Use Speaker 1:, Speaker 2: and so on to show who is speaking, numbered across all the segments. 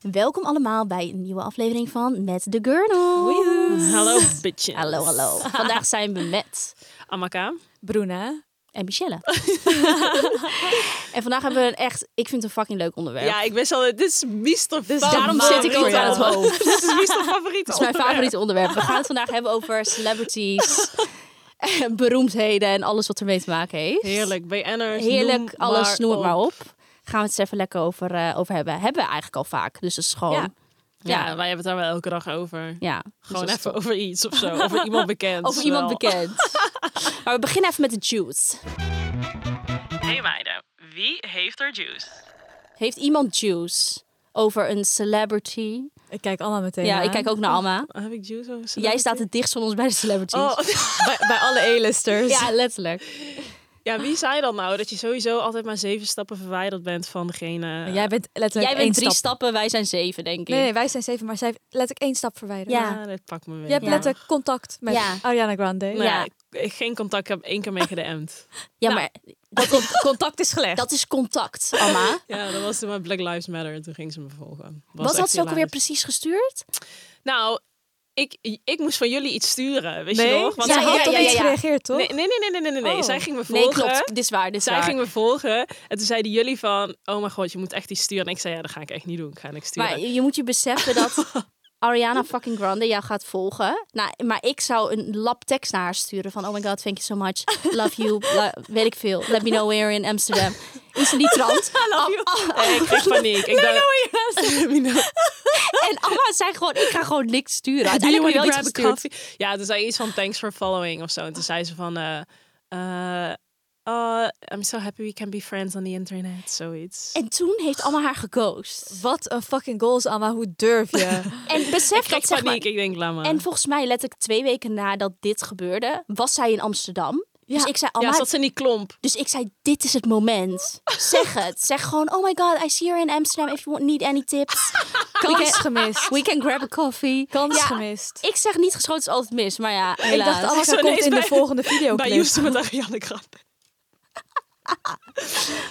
Speaker 1: Welkom allemaal bij een nieuwe aflevering van Met de Gurnels.
Speaker 2: Hallo, bitches.
Speaker 1: Hallo, hallo. Vandaag zijn we met
Speaker 2: Amaka.
Speaker 3: Bruna.
Speaker 1: en Michelle. en vandaag hebben we een echt, ik vind het een fucking leuk onderwerp.
Speaker 2: Ja, ik ben al... Dit is Mister Dus
Speaker 1: daarom zit ik ook aan het hoofd.
Speaker 2: Dit is Mister favoriet
Speaker 1: Het is mijn favoriete onderwerp. We gaan het vandaag hebben over celebrities, en beroemdheden en alles wat ermee te maken heeft.
Speaker 2: Heerlijk, BN'ers.
Speaker 1: Heerlijk,
Speaker 2: noem
Speaker 1: alles, noem het maar
Speaker 2: op.
Speaker 1: op. Gaan we het eens even lekker over, eh, over hebben. Hebben we eigenlijk al vaak, dus het is gewoon...
Speaker 3: Ja.
Speaker 2: Ja, wij hebben het daar wel elke dag over.
Speaker 1: ja. Dus
Speaker 2: Gewoon
Speaker 1: dat is
Speaker 2: even over iets of zo. Over iemand bekend.
Speaker 1: Over iemand
Speaker 2: Wel.
Speaker 1: bekend. maar we beginnen even met de juice.
Speaker 2: Hey meiden, wie heeft er juice?
Speaker 1: Heeft iemand juice over een celebrity? Oh.
Speaker 3: Ik kijk allemaal meteen
Speaker 1: Ja,
Speaker 3: aan.
Speaker 1: ik kijk ook naar Alma.
Speaker 2: Oh, Heb ik juice over
Speaker 1: Jij
Speaker 2: celebrity?
Speaker 1: staat het dichtst van ons bij de celebrities.
Speaker 2: Oh,
Speaker 3: bij, bij alle A-listers.
Speaker 1: Ja, letterlijk.
Speaker 2: ja, wie zei dan nou? Dat je sowieso altijd maar zeven stappen verwijderd bent van degene...
Speaker 3: Jij bent letterlijk
Speaker 1: Jij bent
Speaker 3: één
Speaker 1: drie
Speaker 3: stap.
Speaker 1: stappen, wij zijn zeven, denk ik.
Speaker 3: Nee, nee, wij zijn zeven, maar zij heeft letterlijk één stap verwijderd.
Speaker 1: Ja.
Speaker 2: Ah, dit pakt me weer.
Speaker 3: Je hebt
Speaker 1: Ja.
Speaker 3: letterlijk contact met
Speaker 1: Ja.
Speaker 3: Ariana Grande.
Speaker 2: Nou,
Speaker 1: Ja.
Speaker 2: ik- ik- geen contact, ik heb één keer mee gedm'd.
Speaker 1: ja,
Speaker 3: nou.
Speaker 1: maar
Speaker 3: Dat con- contact is gelegd.
Speaker 1: dat is contact, Alma.
Speaker 2: Ja, dat was toen met Black Lives Matter. Toen ging ze me volgen.
Speaker 1: Wat
Speaker 2: echt
Speaker 1: had ze ook alweer
Speaker 2: hilarisch.
Speaker 1: precies gestuurd?
Speaker 2: Nou, ik, ik moest van jullie iets sturen, weet je
Speaker 3: nee,
Speaker 2: nog?
Speaker 1: Ja,
Speaker 3: zij
Speaker 2: ze
Speaker 3: had
Speaker 1: ja,
Speaker 3: toch
Speaker 1: ja,
Speaker 3: iets
Speaker 1: ja.
Speaker 3: gereageerd, toch?
Speaker 2: Nee, nee, nee, nee, nee, nee, nee, nee.
Speaker 3: Oh.
Speaker 2: Zij ging me volgen.
Speaker 1: Nee, klopt. Dit is waar, dit is
Speaker 2: Zij
Speaker 1: waar.
Speaker 2: ging me volgen. En toen zeiden jullie van, oh mijn god, je moet echt iets sturen. En ik zei, ja, dat ga ik echt niet doen. Ik ga niks sturen.
Speaker 1: Maar je moet je beseffen dat Ariana fucking Grande jou gaat volgen. Nou, maar ik zou een lap tekst naar haar sturen van... Oh my god, thank you so much. Love you. La- weet ik veel. Let me know where in Amsterdam. Is in die trant.
Speaker 2: Love
Speaker 1: Oh,
Speaker 2: you. Nee, Eh, ik kreeg paniek. Ik dacht,
Speaker 1: En Alma zei gewoon, ik ga gewoon niks sturen.
Speaker 2: do you
Speaker 1: Uiteindelijk
Speaker 2: want
Speaker 1: heb
Speaker 2: to
Speaker 1: je wel
Speaker 2: grab
Speaker 1: iets
Speaker 2: a
Speaker 1: gestuurd.
Speaker 2: coffee? Ja, toen zei iets van, thanks for following of zo. En toen zei ze van, eh, eh, eh, I'm so happy we can be friends on the internet. Zoiets.
Speaker 1: En toen heeft Alma haar geghost.
Speaker 3: Wat een fucking goals, Amma. Hoe durf je?
Speaker 1: En besef
Speaker 2: Ik kreeg
Speaker 1: dat, zeg maar...
Speaker 2: paniek. Ik denk, laat maar.
Speaker 1: En volgens mij, letterlijk twee weken nadat dit gebeurde, was zij in Amsterdam. Dus ik zei, Alma,
Speaker 2: ja, zat ze in die klomp.
Speaker 1: Dus ik zei, dit is het moment. Zeg het. Zeg gewoon, oh my god, I see her in Amsterdam. If you want, need any tips,
Speaker 3: Kans gemist.
Speaker 1: we can grab a coffee.
Speaker 3: Kans
Speaker 1: Ja,
Speaker 3: gemist.
Speaker 1: Ik zeg niet geschoten is altijd mis, maar ja,
Speaker 3: Ik
Speaker 1: helaas.
Speaker 3: dacht, Anna
Speaker 2: Zo, nee,
Speaker 3: komt
Speaker 2: is
Speaker 3: in de
Speaker 2: bij-
Speaker 3: volgende video.
Speaker 2: Bij Houston met Ariane Grande.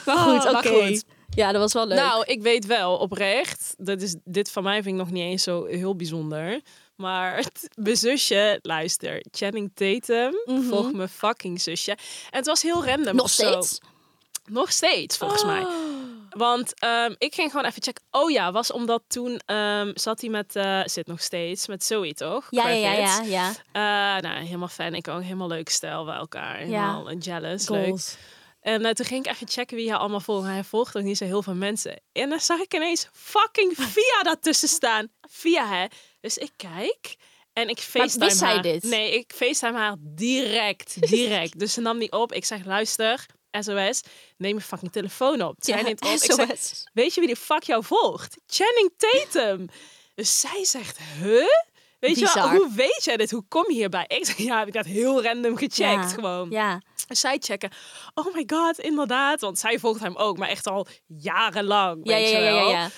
Speaker 1: maar goed,
Speaker 2: Ah,
Speaker 1: oké.
Speaker 2: maar goed.
Speaker 1: Ja, dat was wel leuk.
Speaker 2: Nou, ik weet wel, oprecht. Dat is, dit van mij vind ik nog niet eens zo heel bijzonder. Maar het- mijn zusje, luister, Channing Tatum volgt mijn fucking zusje. En het was heel random.
Speaker 1: Mhm. Nog
Speaker 2: of zo.
Speaker 1: steeds. Oh.
Speaker 2: Nog steeds, volgens mij. Want ehm, ik ging gewoon even checken. Oh ja, was omdat toen ehm, zat hij met, eh, zit nog steeds, met Zoe toch?
Speaker 1: Ja, ja, ja,
Speaker 2: Kravitz.
Speaker 1: ja, ja.
Speaker 2: Eh, nou, helemaal fan. Ik ook. Helemaal leuk stijl bij elkaar. Helemaal eh, jealous. Leuk.
Speaker 3: Goals.
Speaker 2: En eh, toen ging ik even checken wie hij allemaal volgt. Hij volgt ook niet zo heel veel mensen. En dan zag ik ineens fucking Via daartussen staan. Via, hè? Dus ik kijk en ik facetime
Speaker 1: wist zij
Speaker 2: haar.
Speaker 1: dit?
Speaker 2: Nee, ik facetime haar direct, direct. dus ze nam die op. Ik zeg, luister, SOS, neem je fucking telefoon op. Zij neemt op. Ik zeg,
Speaker 1: SOS.
Speaker 2: weet je wie de fuck jou volgt? Channing Tatum. Dus zij zegt, huh? Weet je wel,
Speaker 1: Bizar.
Speaker 2: hoe weet jij dit? Hoe kom je hierbij? Ik zeg, ja, heb ik dat heel random gecheckt
Speaker 1: Ja,
Speaker 2: gewoon.
Speaker 1: Ja.
Speaker 2: En zij checken. Oh my god, inderdaad. Want zij volgt hem ook, maar echt al jarenlang.
Speaker 1: Ja,
Speaker 2: weet
Speaker 1: ja,
Speaker 2: je
Speaker 1: ja, ja,
Speaker 2: wel.
Speaker 1: ja.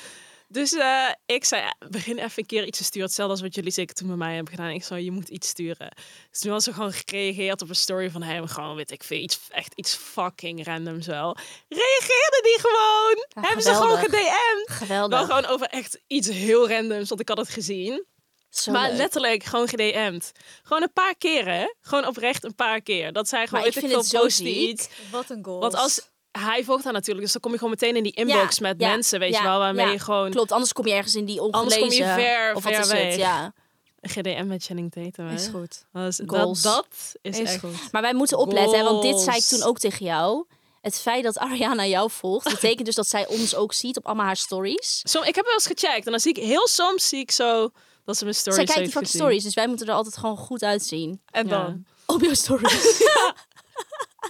Speaker 2: Dus eh, ik zei, ja, begin even een keer iets te sturen. Hetzelfde als wat jullie zeker toen met mij hebben gedaan. Ik zei, je moet iets sturen. Dus toen had ze gewoon gereageerd op een story van hem. Gewoon, weet ik veel, iets, echt iets fucking randoms wel. Reageerde die gewoon!
Speaker 1: Ja,
Speaker 2: hebben ze gewoon
Speaker 1: geweldig.
Speaker 2: gedm'd! Wel
Speaker 1: Geweldig.
Speaker 2: gewoon over echt iets heel randoms, want ik had het gezien.
Speaker 1: Oh, Zo
Speaker 2: maar
Speaker 1: leuk.
Speaker 2: letterlijk gewoon gedm'd. Gewoon een paar keren. hè. Gewoon oprecht een paar keer. Dat zij gewoon,
Speaker 1: Maar ik
Speaker 2: weet
Speaker 1: vind
Speaker 2: veel,
Speaker 1: het zo
Speaker 2: posten
Speaker 1: ziek.
Speaker 2: iets.
Speaker 3: Wat een goal.
Speaker 2: Want als... Hij volgt haar natuurlijk, dus dan kom je gewoon meteen in die inbox met
Speaker 1: ja,
Speaker 2: mensen, weet
Speaker 1: ja,
Speaker 2: je wel, waarmee
Speaker 1: ja.
Speaker 2: je gewoon
Speaker 1: Klopt, anders kom je ergens in die
Speaker 2: kom je
Speaker 1: ongelezen.
Speaker 2: ver,
Speaker 1: of wat
Speaker 2: ver
Speaker 1: is
Speaker 2: weg.
Speaker 1: het, ja.
Speaker 2: GDM met Channing Tatum. hè?
Speaker 3: Is goed.
Speaker 2: Dat, is- dat-
Speaker 1: Goals.
Speaker 2: dat is,
Speaker 3: Is
Speaker 2: echt...
Speaker 3: goed.
Speaker 1: Maar wij moeten opletten, hè, want dit zei ik
Speaker 2: Goals.
Speaker 1: toen ook tegen jou. Het feit dat Ariana jou volgt, betekent dus dat zij ons ook ziet op allemaal haar stories.
Speaker 2: Som, ik heb wel eens gecheckt en dan zie ik heel soms zie ik zo dat ze mijn stories
Speaker 1: zij kijkt die
Speaker 2: heeft
Speaker 1: fucking
Speaker 2: gezien.
Speaker 1: stories, dus wij moeten er altijd gewoon goed uitzien.
Speaker 2: En
Speaker 3: Ja.
Speaker 2: dan?
Speaker 1: Op jouw stories.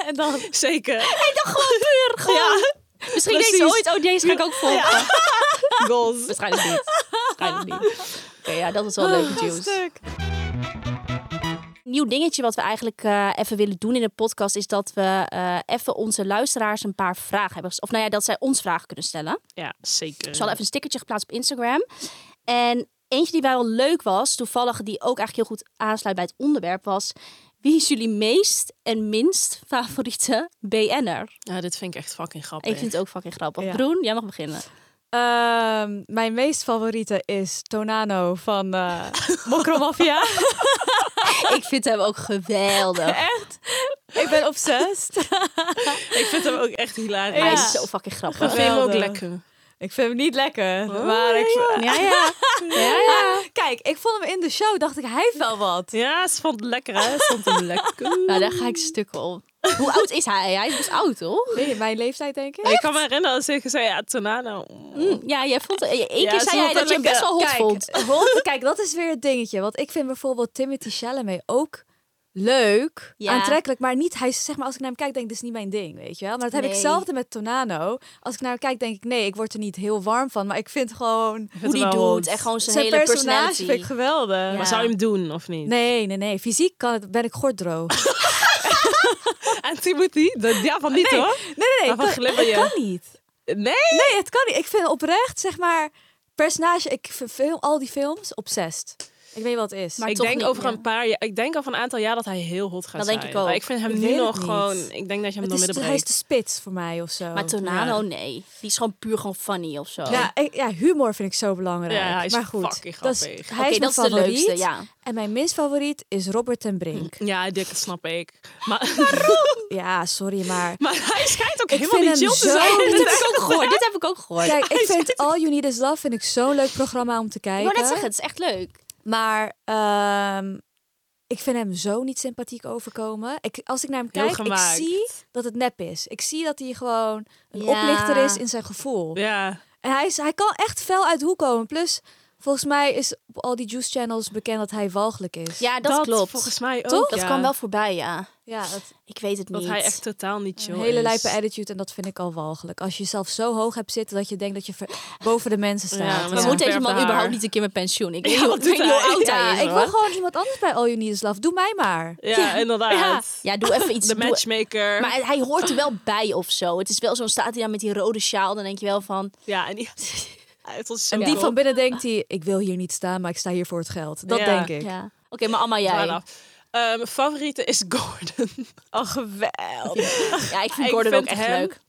Speaker 1: en dan
Speaker 2: Zeker.
Speaker 1: gewoon puur, gewoon. Misschien denkt ze
Speaker 2: precies.
Speaker 1: ooit, oh deze ga ik ook volgen.
Speaker 2: Goals.
Speaker 1: Waarschijnlijk niet. Waarschijnlijk niet. Oké, ja, dat was wel leuke juice.
Speaker 2: Stuk.
Speaker 1: nieuw dingetje wat we eigenlijk eh, even willen doen in de podcast is dat we eh, even onze luisteraars een paar vragen hebben. ges- Of nou ja, dat zij ons vragen kunnen stellen.
Speaker 2: Ja, zeker.
Speaker 1: Dus we hadden even een stickertje geplaatst op Instagram. En eentje die wel leuk was, toevallig die ook eigenlijk heel goed aansluit bij het onderwerp, was wie is jullie meest en minst favoriete BN'er?
Speaker 2: Ja, dit vind ik echt fucking grappig.
Speaker 1: Ik vind het ook fucking grappig.
Speaker 3: Ja.
Speaker 1: Broen, jij mag beginnen.
Speaker 3: Ehm, mijn meest favoriete is Tonano van eh Mokromafia.
Speaker 1: ik vind hem ook geweldig.
Speaker 3: Echt? Ik ben obsessed.
Speaker 2: Ik vind hem ook echt hilarisch.
Speaker 1: Hij
Speaker 3: Ja.
Speaker 1: is zo fucking
Speaker 2: Ik
Speaker 1: grappig.
Speaker 2: vind hem ook
Speaker 3: Geweldig.
Speaker 2: lekker.
Speaker 3: Ik vind hem niet lekker. maar ik,
Speaker 1: Ja, ja. ja, ja.
Speaker 3: Kijk, ik vond hem in de show, dacht ik, hij heeft wel wat.
Speaker 2: Ja, ze vond het lekker, hè? Ze vond hem lekker.
Speaker 1: Nou, daar ga ik stuk op. Hoe oud is hij? Hij is best oud, toch?
Speaker 3: Nee, mijn leeftijd, denk ik.
Speaker 2: Ik kan me herinneren als ik zei, ja, nou, Tornado.
Speaker 1: Mm, ja, jij vond het. Eén
Speaker 2: Ja,
Speaker 1: keer
Speaker 2: ze
Speaker 1: zei jij
Speaker 2: vond
Speaker 1: dat je hem
Speaker 2: het
Speaker 1: best wel hot
Speaker 3: Kijk,
Speaker 1: vond.
Speaker 3: hot, kijk, dat is weer het dingetje. Want ik vind bijvoorbeeld Timothy Chalamet ook leuk,
Speaker 1: Ja.
Speaker 3: aantrekkelijk, maar niet, hij, is- zeg maar, als ik naar hem kijk, denk ik, dit is niet mijn ding, weet je wel. Maar dat heb ik
Speaker 1: Nee.
Speaker 3: hetzelfde met Tonano. Als ik naar hem kijk, denk ik, nee, ik word er niet heel warm van, maar ik vind gewoon
Speaker 1: Hoe die doet en gewoon zijn,
Speaker 3: zijn
Speaker 1: hele
Speaker 3: personage
Speaker 1: personality.
Speaker 3: vind ik geweldig.
Speaker 1: Ja.
Speaker 2: Maar zou je hem doen, of niet?
Speaker 3: Nee, nee, nee. Fysiek kan het, ben ik gordroog.
Speaker 2: En Timothy? Dat, ja, van niet,
Speaker 3: Nee.
Speaker 2: hoor.
Speaker 3: Nee, nee, nee.
Speaker 2: Waarvan
Speaker 3: het kan-
Speaker 2: glibber je?
Speaker 3: Het kan niet.
Speaker 2: Nee?
Speaker 3: Nee, het kan niet. Ik vind oprecht, zeg maar, personage, ik vind film, al die films obsessed. Ik weet wat het is.
Speaker 1: Maar-
Speaker 2: ik
Speaker 1: toch
Speaker 2: denk
Speaker 1: niet,
Speaker 2: over
Speaker 1: ja.
Speaker 2: een paar jaar, ik denk over een aantal jaar dat hij heel hot gaat
Speaker 1: Dat
Speaker 2: zijn.
Speaker 1: denk ik ook.
Speaker 2: Maar ik vind hem
Speaker 3: Ik
Speaker 2: nu
Speaker 3: weet het
Speaker 2: nog
Speaker 3: niet.
Speaker 2: gewoon, ik denk dat je hem
Speaker 3: het
Speaker 2: door
Speaker 3: is,
Speaker 2: midden
Speaker 3: de, hij is
Speaker 2: breekt.
Speaker 3: de spits voor mij of zo.
Speaker 1: Maar Tonano, nee. Die is gewoon puur gewoon funny of zo.
Speaker 3: ja, ik- ja, humor vind ik zo belangrijk.
Speaker 2: Ja, hij is
Speaker 3: maar goed,
Speaker 2: fucking
Speaker 3: dat is-
Speaker 2: grappig.
Speaker 3: hij
Speaker 1: Oké,
Speaker 3: is mijn
Speaker 1: dat is de
Speaker 3: favoriet.
Speaker 1: leukste, ja. Mm.
Speaker 3: En mijn minst favoriet is Robert ten Brink.
Speaker 2: Ja, dit snap ik. Maar,
Speaker 3: Ja, sorry, maar...
Speaker 2: maar hij schijnt ook
Speaker 3: Ik
Speaker 2: helemaal
Speaker 3: vind
Speaker 2: niet chill
Speaker 3: hem
Speaker 2: te
Speaker 3: zo-
Speaker 2: zijn.
Speaker 1: Dit heb ik ook gehoord. Dit heb ik ook gehoord.
Speaker 3: Kijk, ik vind All You Need Is Love vind ik zo'n leuk programma om te
Speaker 1: ik
Speaker 3: kijken.
Speaker 1: wou net zeggen, het is echt leuk.
Speaker 3: Maar ehm, ik vind hem zo niet sympathiek overkomen. Ik, als ik naar hem
Speaker 2: Heel
Speaker 3: kijk, ik
Speaker 2: gemaakt.
Speaker 3: zie dat het nep is. Ik zie dat hij gewoon een
Speaker 1: Ja.
Speaker 3: oplichter is in zijn gevoel.
Speaker 2: Ja,
Speaker 3: En hij, is, hij kan echt fel uit de hoek komen. Plus, volgens mij is op al die juice channels bekend dat hij walgelijk is.
Speaker 1: Ja, dat,
Speaker 2: dat,
Speaker 1: klopt.
Speaker 2: volgens mij ook.
Speaker 1: Toch? Dat
Speaker 2: ja.
Speaker 1: kwam wel voorbij, ja.
Speaker 3: ja dat,
Speaker 1: Ik weet het
Speaker 2: Dat
Speaker 1: niet.
Speaker 2: hij echt totaal niet chill
Speaker 3: een hele
Speaker 2: is.
Speaker 3: lijpe attitude en dat vind ik al walgelijk. Als je jezelf zo hoog hebt zitten dat je denkt dat je ver- boven de mensen
Speaker 2: Ja,
Speaker 3: staat.
Speaker 2: maar
Speaker 1: Maar
Speaker 2: Ja.
Speaker 1: moet deze
Speaker 2: Verfde
Speaker 1: man
Speaker 2: haar.
Speaker 1: überhaupt niet een keer met pensioen? Ik
Speaker 2: Ja,
Speaker 1: weet niet
Speaker 2: wat
Speaker 1: ik
Speaker 2: doet
Speaker 1: weet niet hoe
Speaker 2: hij?
Speaker 1: oud
Speaker 3: Ja,
Speaker 1: hij is,
Speaker 3: ik wil
Speaker 1: hoor.
Speaker 3: gewoon iemand anders bij All You Need Is Love. Doe mij maar.
Speaker 2: Ja, inderdaad.
Speaker 1: Ja, doe even iets.
Speaker 2: De
Speaker 1: doe-
Speaker 2: matchmaker.
Speaker 1: Maar hij hoort er wel bij of zo. Het is wel zo'n staat hij daar met die rode sjaal. Dan denk je wel van...
Speaker 2: Ja, en die... Het was zo
Speaker 3: En die
Speaker 2: cool.
Speaker 3: van binnen denkt hij, ik wil hier niet staan, maar ik sta hier voor het geld. Dat
Speaker 2: Ja.
Speaker 3: denk ik.
Speaker 1: Ja. Oké, maar allemaal jij.
Speaker 2: Voilà. Eh, mijn favoriete is Gordon. Oh, geweldig.
Speaker 1: Eh, Ja, ik vind
Speaker 2: Ik
Speaker 1: Gordon
Speaker 2: vind
Speaker 1: ook echt
Speaker 2: hem-
Speaker 1: leuk.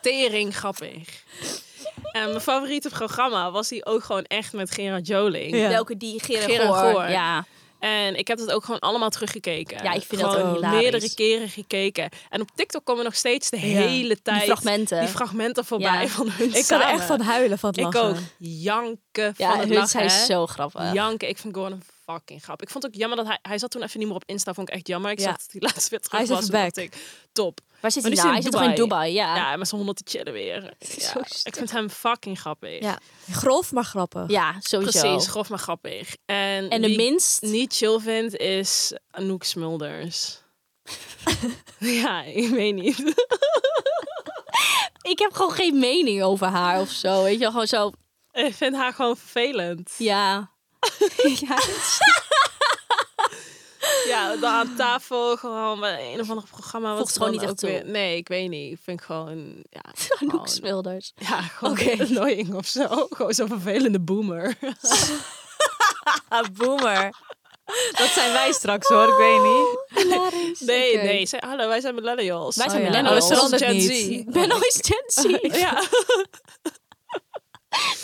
Speaker 2: Tering grappig. En mijn favoriete programma was die ook gewoon echt met Gerard Joling.
Speaker 3: Ja.
Speaker 1: Welke die Gerard,
Speaker 2: Gerard
Speaker 1: Goor.
Speaker 2: Goor.
Speaker 1: Ja.
Speaker 2: En ik heb het ook gewoon allemaal teruggekeken.
Speaker 1: Ja, ik vind dat
Speaker 2: Gewoon
Speaker 1: ook hilarisch.
Speaker 2: meerdere keren gekeken. En op TikTok komen nog steeds de
Speaker 3: Ja.
Speaker 2: hele tijd
Speaker 1: fragmenten.
Speaker 2: die fragmenten voorbij
Speaker 1: Ja.
Speaker 2: van hun
Speaker 3: Ik kan er echt van huilen van het
Speaker 2: Ik
Speaker 3: lachen.
Speaker 2: ook. Janken
Speaker 1: Ja,
Speaker 2: van het
Speaker 1: hun
Speaker 2: lachen.
Speaker 1: zijn
Speaker 2: hè.
Speaker 1: zo grappig.
Speaker 2: Janken. Ik vind Gordon fucking grappig. Ik vond het ook jammer dat hij... Hij zat toen even niet meer op Insta. Vond ik echt jammer. Ik
Speaker 3: Ja.
Speaker 2: zag dat hij laatst weer terug
Speaker 3: Hij is
Speaker 2: was.
Speaker 3: even
Speaker 2: toen
Speaker 3: back.
Speaker 2: dacht ik, top.
Speaker 1: Waar zit
Speaker 2: Maar
Speaker 1: hij
Speaker 2: die
Speaker 1: nou? Hij
Speaker 2: zit
Speaker 1: zit
Speaker 2: in
Speaker 1: toch in Dubai? Ja. ja.
Speaker 2: Ja, met zijn honderd te chillen weer. Ja,
Speaker 1: Zo
Speaker 2: ik
Speaker 1: stuk.
Speaker 2: vind hem fucking grappig.
Speaker 3: Ja. Grof, maar grappig.
Speaker 1: sowieso.
Speaker 2: Precies, grof maar grappig. En,
Speaker 1: En de
Speaker 2: wie ik
Speaker 1: minst?
Speaker 2: niet chill vind is Anouk Smulders. ja, ik weet niet.
Speaker 1: Ik heb gewoon geen mening over haar of zo. Weet je wel, gewoon zo...
Speaker 2: ik vind haar gewoon vervelend.
Speaker 1: Ja. ja.
Speaker 2: Ja, dan aan tafel gewoon bij een of ander programma. Wat
Speaker 1: Voegt
Speaker 2: ze
Speaker 1: gewoon
Speaker 2: dan
Speaker 1: niet
Speaker 2: ook
Speaker 1: echt toe.
Speaker 2: weer- Nee, ik weet niet. Ik vind gewoon... Ja,
Speaker 1: Anouk
Speaker 2: gewoon-
Speaker 1: Smulders.
Speaker 2: Ja, gewoon
Speaker 1: Oké.
Speaker 2: annoying of zo. Gewoon zo'n vervelende boomer.
Speaker 3: Ah, boomer. Dat zijn wij straks hoor, ik weet niet.
Speaker 1: Hilarisch.
Speaker 2: Nee,
Speaker 1: Oké.
Speaker 2: nee. Zij, hallo, wij zijn millennials.
Speaker 1: Oh, Wij zijn
Speaker 3: Oh ja.
Speaker 1: millennials.
Speaker 3: Oh, dat
Speaker 2: Zelfs
Speaker 3: verandert
Speaker 2: Gen
Speaker 3: niet.
Speaker 2: Z.
Speaker 1: Benno is Gen Z.
Speaker 2: Ja,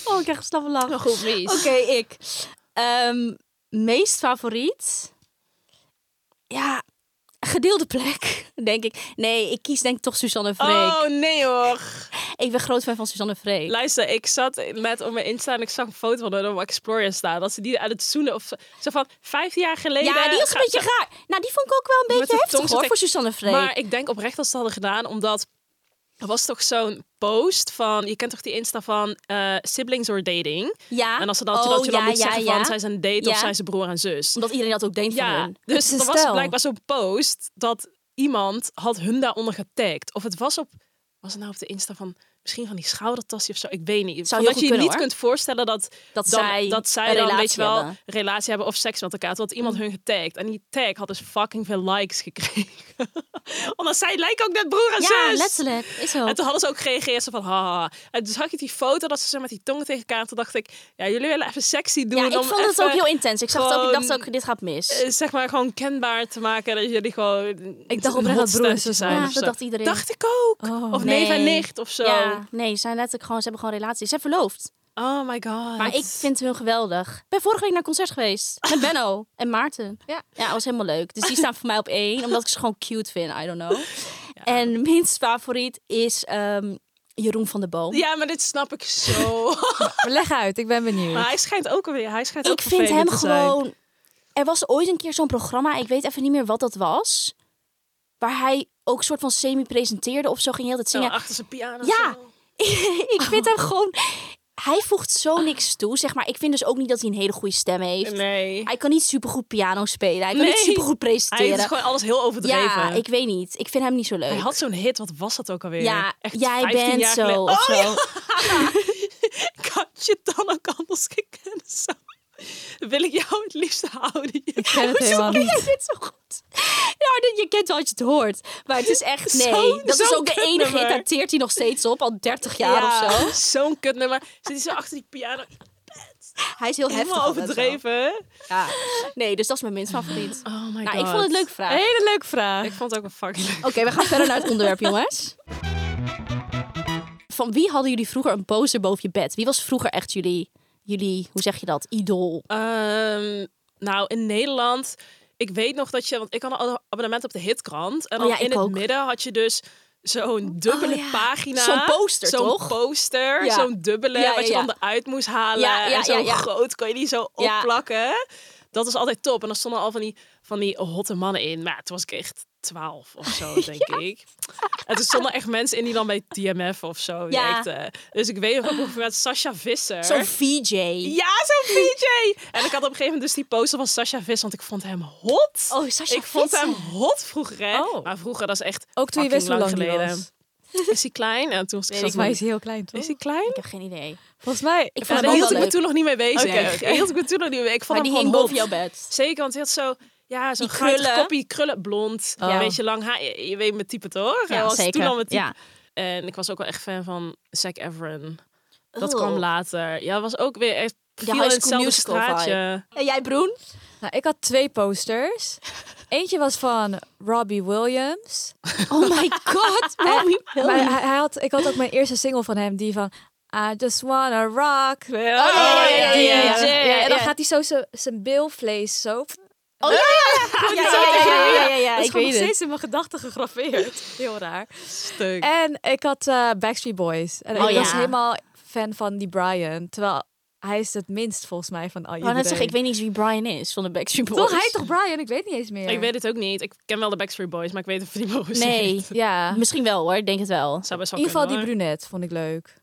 Speaker 1: Oh, ik krijg een slappe lach.
Speaker 2: maar goed, mies.
Speaker 1: Oké, ik. Ehm, meest favoriet? Ja, gedeelde plek, denk ik. Nee, ik kies denk ik toch Suzanne Freek.
Speaker 2: Oh nee hoor.
Speaker 1: Ik ben groot fan van Suzanne Freek.
Speaker 2: Luister, ik zat net op mijn Insta en ik zag een foto van haar op Explorer staan. Dat ze die aan het zoenen of zo, zo van 15 jaar geleden.
Speaker 1: ja, die was een
Speaker 2: Ga-
Speaker 1: beetje
Speaker 2: zo-
Speaker 1: raar. Nou, die vond ik ook wel een
Speaker 2: Met
Speaker 1: beetje
Speaker 2: de
Speaker 1: heftig
Speaker 2: tong
Speaker 1: hoor,
Speaker 2: zo
Speaker 1: voor Suzanne Freek.
Speaker 2: Maar ik denk oprecht dat ze dat hadden gedaan, omdat er was toch zo'n post van, je kent toch die Insta van eh, siblings or dating?
Speaker 1: ja.
Speaker 2: En als ze dan,
Speaker 1: Oh,
Speaker 2: dat je dan
Speaker 1: ja,
Speaker 2: moet
Speaker 1: ja,
Speaker 2: zeggen
Speaker 1: ja.
Speaker 2: van, zijn ze een date
Speaker 1: Ja.
Speaker 2: of zijn ze broer en zus?
Speaker 1: Omdat iedereen dat ook denkt van
Speaker 2: Ja,
Speaker 1: hun.
Speaker 2: dus
Speaker 3: Het is
Speaker 2: er
Speaker 3: een
Speaker 2: was
Speaker 3: stel.
Speaker 2: blijkbaar zo'n post dat iemand had hun daaronder getagd. Of het was op, was het nou op de Insta van misschien van die schoudertasje of zo, ik weet niet.
Speaker 1: Zou heel
Speaker 2: Van dat
Speaker 1: goed
Speaker 2: je je
Speaker 1: kunnen,
Speaker 2: niet
Speaker 1: hoor.
Speaker 2: kunt voorstellen dat,
Speaker 1: Dat
Speaker 2: dan-
Speaker 1: zij
Speaker 2: dat zij
Speaker 1: een
Speaker 2: dan
Speaker 1: relatie
Speaker 2: weet je wel
Speaker 1: hebben. Mm.
Speaker 2: relatie hebben of seks met elkaar. Toen had iemand hun getagd en die tag had dus fucking veel likes gekregen. Omdat zij lijken ook net broer en
Speaker 1: Ja,
Speaker 2: zus.
Speaker 1: letterlijk. Is zo.
Speaker 2: En toen hadden ze ook gereageerd zo van haha. En toen zag ik die foto dat ze zo met die tongen tegen elkaar. En toen dacht ik, ja, jullie willen even sexy doen.
Speaker 1: Ja, ik
Speaker 2: om
Speaker 1: vond het
Speaker 2: even-
Speaker 1: ook heel intens. Ik zag het ook, ik dacht
Speaker 2: gewoon-
Speaker 1: ook, dit gaat mis.
Speaker 2: eh, zeg maar gewoon kenbaar te maken dat jullie gewoon.
Speaker 3: Ik
Speaker 2: een
Speaker 3: dacht oprecht
Speaker 2: hot
Speaker 3: dat broers
Speaker 2: stemmetje
Speaker 3: zijn.
Speaker 2: zijn.
Speaker 1: ja,
Speaker 2: of
Speaker 1: dat
Speaker 2: zo.
Speaker 1: dacht iedereen.
Speaker 2: Dacht ik ook.
Speaker 3: Oh.
Speaker 2: Of neef en
Speaker 1: Nee.
Speaker 2: nicht of zo.
Speaker 1: Ja, nee, ze zijn letterlijk gewoon, ze hebben gewoon relaties. Ze zijn verloofd.
Speaker 2: Oh my god.
Speaker 1: Maar ik vind hun geweldig. Ik ben vorige week naar een concert geweest. Met Benno en Maarten.
Speaker 3: Ja.
Speaker 1: Ja, dat was helemaal leuk. Dus die staan voor mij op één. Omdat ik ze gewoon cute vind. I don't know. En minst favoriet is ehm, Jeroen van der Boom.
Speaker 2: Ja, maar dit snap ik zo.
Speaker 3: Maar leg uit, ik ben benieuwd.
Speaker 2: maar hij schijnt ook weer. Hij schijnt ook
Speaker 1: ik vind hem
Speaker 2: vervelend te zijn.
Speaker 1: gewoon... Er was ooit een keer zo'n programma. Ik weet even niet meer wat dat was. Waar hij ook soort van semi-presenteerde of zo. Ging heel het
Speaker 2: Zo
Speaker 1: zingen.
Speaker 2: achter zijn piano.
Speaker 1: Ja.
Speaker 2: zo. Oh.
Speaker 1: ik vind hem gewoon... Hij voegt zo niks toe, zeg maar. Ik vind dus ook niet dat hij een hele goede stem heeft.
Speaker 2: Nee.
Speaker 1: Hij kan niet supergoed piano spelen. Hij kan niet
Speaker 2: Nee.
Speaker 1: supergoed
Speaker 2: Hij
Speaker 1: presenteren.
Speaker 2: is gewoon alles heel overdreven.
Speaker 1: Ja, ik weet niet. Ik vind hem niet zo leuk.
Speaker 2: Hij had zo'n hit, wat was dat ook alweer?
Speaker 1: ja,
Speaker 2: Echt
Speaker 1: jij
Speaker 2: 15
Speaker 1: bent
Speaker 2: jaar
Speaker 1: zo.
Speaker 2: geleden. Oh,
Speaker 1: of zo.
Speaker 2: Ik had je dan ook anders gekend. Zo. Wil ik jou het liefst houden?
Speaker 3: Ik ken het
Speaker 1: Hoezo
Speaker 3: helemaal
Speaker 1: ken
Speaker 3: niet.
Speaker 1: jij dit zo goed? Nou, dit- je kent wel als je het hoort. Maar het is echt, nee.
Speaker 2: Zo'n-
Speaker 1: dat is
Speaker 2: zo'n
Speaker 1: ook de
Speaker 2: kutnummer.
Speaker 1: enige. Hit, daar teert hij nog steeds op, al 30 jaar of zo.
Speaker 2: Zo'n kutnummer. Zit hij zo achter die piano.
Speaker 1: Hij is heel heftig.
Speaker 2: Helemaal
Speaker 1: altijd zo.
Speaker 2: overdreven.
Speaker 1: Ja. Nee, dus dat is mijn minst favoriet.
Speaker 2: Oh my
Speaker 1: Nou, ik vond het leuk vraag.
Speaker 3: Hele leuke vraag.
Speaker 2: Ik vond het ook een fucking leuk.
Speaker 1: Oké, we gaan verder naar het onderwerp, jongens. Van wie hadden jullie vroeger een poster boven je bed? Wie was vroeger echt jullie, jullie hoe zeg je dat, idool?
Speaker 2: Ehm, nou, in Nederland... Ik weet nog dat je... Want ik had een abonnement op de Hitkrant. En
Speaker 1: Oh
Speaker 2: dan
Speaker 1: ja,
Speaker 2: in
Speaker 1: ik
Speaker 2: het
Speaker 1: ook.
Speaker 2: midden had je dus... Zo'n dubbele
Speaker 1: Oh ja.
Speaker 2: pagina.
Speaker 1: Zo'n poster,
Speaker 2: Zo'n
Speaker 1: toch?
Speaker 2: poster.
Speaker 1: Ja.
Speaker 2: Zo'n dubbele.
Speaker 1: Ja, ja,
Speaker 2: Wat je
Speaker 1: ja.
Speaker 2: dan eruit moest halen.
Speaker 1: Ja, ja,
Speaker 2: en zo
Speaker 1: ja, ja.
Speaker 2: groot kon je die zo
Speaker 1: Ja.
Speaker 2: opplakken. Dat is altijd top. En dan stonden al van die, van die hotte mannen in. Maar ja, toen was ik echt 12 of zo, denk ik. En toen stonden echt mensen in die dan bij TMF of zo
Speaker 1: Ja.
Speaker 2: werkten. Dus ik weet nog op een gegeven moment Sasha Visser.
Speaker 1: Zo'n VJ.
Speaker 2: Ja, zo'n VJ! En ik had op een gegeven moment dus die poster van Sasha Visser, want ik vond hem hot.
Speaker 1: Oh, Sascha
Speaker 2: ik vond hem hot vroeger, hè.
Speaker 3: Oh.
Speaker 2: Maar vroeger, dat is echt
Speaker 3: Ook toen
Speaker 2: fucking
Speaker 3: je wist hoe lang die
Speaker 2: geleden.
Speaker 3: was.
Speaker 2: Is hij klein? En toen was ik zo
Speaker 3: Volgens
Speaker 2: van,
Speaker 3: mij is hij heel klein, toch?
Speaker 2: Is hij klein?
Speaker 1: Ik heb geen idee.
Speaker 3: Volgens mij.
Speaker 1: Ik
Speaker 2: Ja,
Speaker 1: vond
Speaker 2: daar
Speaker 1: hem wel
Speaker 2: hield ik me
Speaker 1: leuk.
Speaker 2: toen nog niet mee bezig.
Speaker 3: Oké, oké.
Speaker 2: Daar hield ik me toen nog niet mee. Ik vond
Speaker 1: Maar
Speaker 2: hem
Speaker 1: die
Speaker 2: gewoon
Speaker 1: hing
Speaker 2: hot.
Speaker 1: boven jouw bed.
Speaker 2: Zeker, want hij had zo... Ja, zo'n
Speaker 1: Die
Speaker 2: krullen.
Speaker 1: krullen. Oh.
Speaker 2: koppie, krullen, blond.
Speaker 3: Ja.
Speaker 2: Een beetje lang haar. Je, je weet mijn type, toch? Hij was toen al mijn type. En ik was ook wel echt fan van Zac Efron. Dat
Speaker 1: Oh.
Speaker 2: kwam later. Ja, was ook weer echt...
Speaker 1: De
Speaker 2: Viel
Speaker 1: High
Speaker 2: in
Speaker 1: School
Speaker 2: hetzelfde
Speaker 1: Musical
Speaker 2: straatje.
Speaker 1: En jij, Broen?
Speaker 3: Nou, ik had twee posters. Eentje was van Robbie Williams.
Speaker 1: Oh my god, Robbie
Speaker 3: Maar
Speaker 1: Williams.
Speaker 3: hij, hij had, ik had ook mijn eerste single van hem, die van I just wanna rock. Oh,
Speaker 1: ja, ja, ja, ja, ja.
Speaker 3: En
Speaker 1: Ja.
Speaker 3: dan gaat hij zo zijn- zijn bilvlees zo.
Speaker 1: Oh ja, ja, ja, ja, ja, ja, ja, ja,
Speaker 3: dat is
Speaker 1: ik
Speaker 3: gewoon nog
Speaker 1: weet het.
Speaker 3: steeds in mijn gedachten gegraveerd. Heel raar.
Speaker 2: Stuk.
Speaker 3: En ik had eh, Backstreet Boys. En
Speaker 1: Oh,
Speaker 3: ik
Speaker 1: ja.
Speaker 3: was helemaal fan van die Brian. Terwijl hij is het minst volgens mij van al
Speaker 1: Ik wou
Speaker 3: iedereen.
Speaker 1: net zeggen, ik weet niet eens wie Brian is van de Backstreet Boys.
Speaker 3: Toch, hij toch Brian? Ik weet niet eens meer.
Speaker 2: Ik weet het ook niet. Ik ken wel de Backstreet Boys, maar ik weet of die mogen
Speaker 1: Nee,
Speaker 3: Ja. In
Speaker 1: misschien wel hoor, ik denk het wel.
Speaker 2: Zou best wel
Speaker 3: ieder geval die
Speaker 2: kunnen,
Speaker 3: brunet vond ik leuk.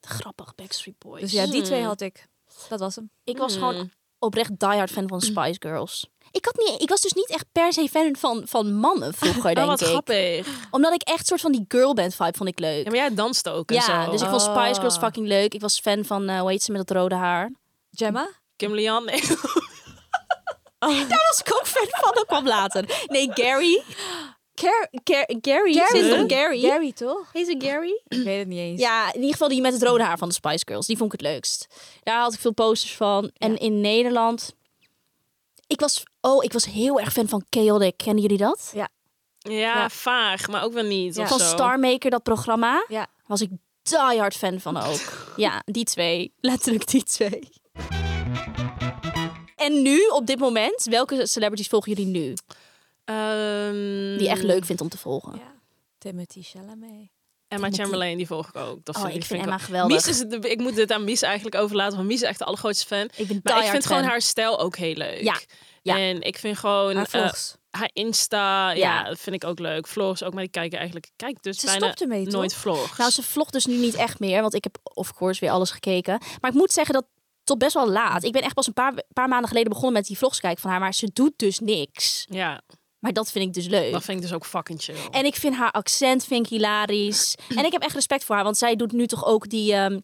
Speaker 1: Grappig, Backstreet Boys. Mm.
Speaker 3: Dus ja, die twee had ik. Dat was hem.
Speaker 1: Ik was
Speaker 2: Hmm.
Speaker 1: gewoon oprecht diehard fan van Spice Girls. Ik, had niet, ik was dus niet echt per se fan van, van mannen vroeger,
Speaker 2: hoor.
Speaker 1: denk
Speaker 2: Oh, wat
Speaker 1: ik.
Speaker 2: grappig.
Speaker 1: Omdat ik echt soort van die girlband vibe vond ik leuk.
Speaker 2: Ja, maar jij danst ook en
Speaker 1: Ja,
Speaker 2: zo.
Speaker 1: dus ik
Speaker 2: Oh.
Speaker 1: vond Spice Girls
Speaker 3: Ah.
Speaker 1: fucking leuk. Ik was fan van, eh hoe heet ze met dat rode haar?
Speaker 3: Gemma?
Speaker 2: Kim Lian, nee.
Speaker 1: Daar was ik ook fan van. Dat kwam later. Nee, Gary.
Speaker 3: Car-
Speaker 1: Gar- Gary.
Speaker 3: Gary.
Speaker 1: Zit het op Gary?
Speaker 3: Gary, toch?
Speaker 1: Heet ze Gary?
Speaker 3: Ik weet het niet eens.
Speaker 1: Ja, in ieder geval die met het rode haar van de Spice Girls. Die vond ik het leukst. Daar had ik veel posters van. En in Nederland... Ik was... Oh, ik was heel erg fan van Chaotic. Kennen jullie dat?
Speaker 2: Ja, vaag, maar ook wel niet.
Speaker 3: Ja.
Speaker 2: Of
Speaker 1: Van
Speaker 2: zo.
Speaker 1: Star Maker, dat programma.
Speaker 3: Ja.
Speaker 1: Was ik diehard fan van ook. ja, die twee. Letterlijk die twee. En nu, op dit moment, welke celebrities volgen jullie nu?
Speaker 2: Ehm,
Speaker 1: Die je echt
Speaker 3: Mm.
Speaker 1: leuk vindt om te volgen?
Speaker 3: Ja. Timothy Chalamet.
Speaker 2: Emma Chamberlain, die volg ik ook. Dat
Speaker 1: Oh,
Speaker 2: vind
Speaker 1: ik
Speaker 2: vind
Speaker 1: vind
Speaker 2: ik
Speaker 1: Emma
Speaker 2: wel-
Speaker 1: geweldig.
Speaker 2: Mies is het, ik moet dit aan Mies eigenlijk overlaten, want Mies is echt de allergrootste fan.
Speaker 1: Ik ben
Speaker 2: Maar ik
Speaker 1: diehard
Speaker 2: vind gewoon
Speaker 1: fan.
Speaker 2: haar stijl ook heel leuk.
Speaker 1: Ja, ja.
Speaker 2: En ik vind gewoon
Speaker 3: Haar
Speaker 2: eh,
Speaker 3: vlogs.
Speaker 2: haar Insta, ja.
Speaker 1: Ja.
Speaker 2: dat vind ik ook leuk. Vlogs ook, maar die kijken eigenlijk, kijk dus
Speaker 3: Ze
Speaker 2: bijna
Speaker 3: stopt ermee, toch?
Speaker 2: nooit vlogs.
Speaker 1: Nou, ze vlogt dus nu niet echt meer, want ik heb of course weer alles gekeken. Maar ik moet zeggen dat tot best wel laat. Ik ben echt pas een paar, paar maanden geleden begonnen met die vlogs kijken van haar, maar ze doet dus niks.
Speaker 2: Ja,
Speaker 1: Maar dat vind ik dus leuk.
Speaker 2: dat vind ik dus ook fucking chill.
Speaker 1: En ik vind haar accent vind ik hilarisch. en ik heb echt respect voor haar, want zij doet nu toch ook die, ehm,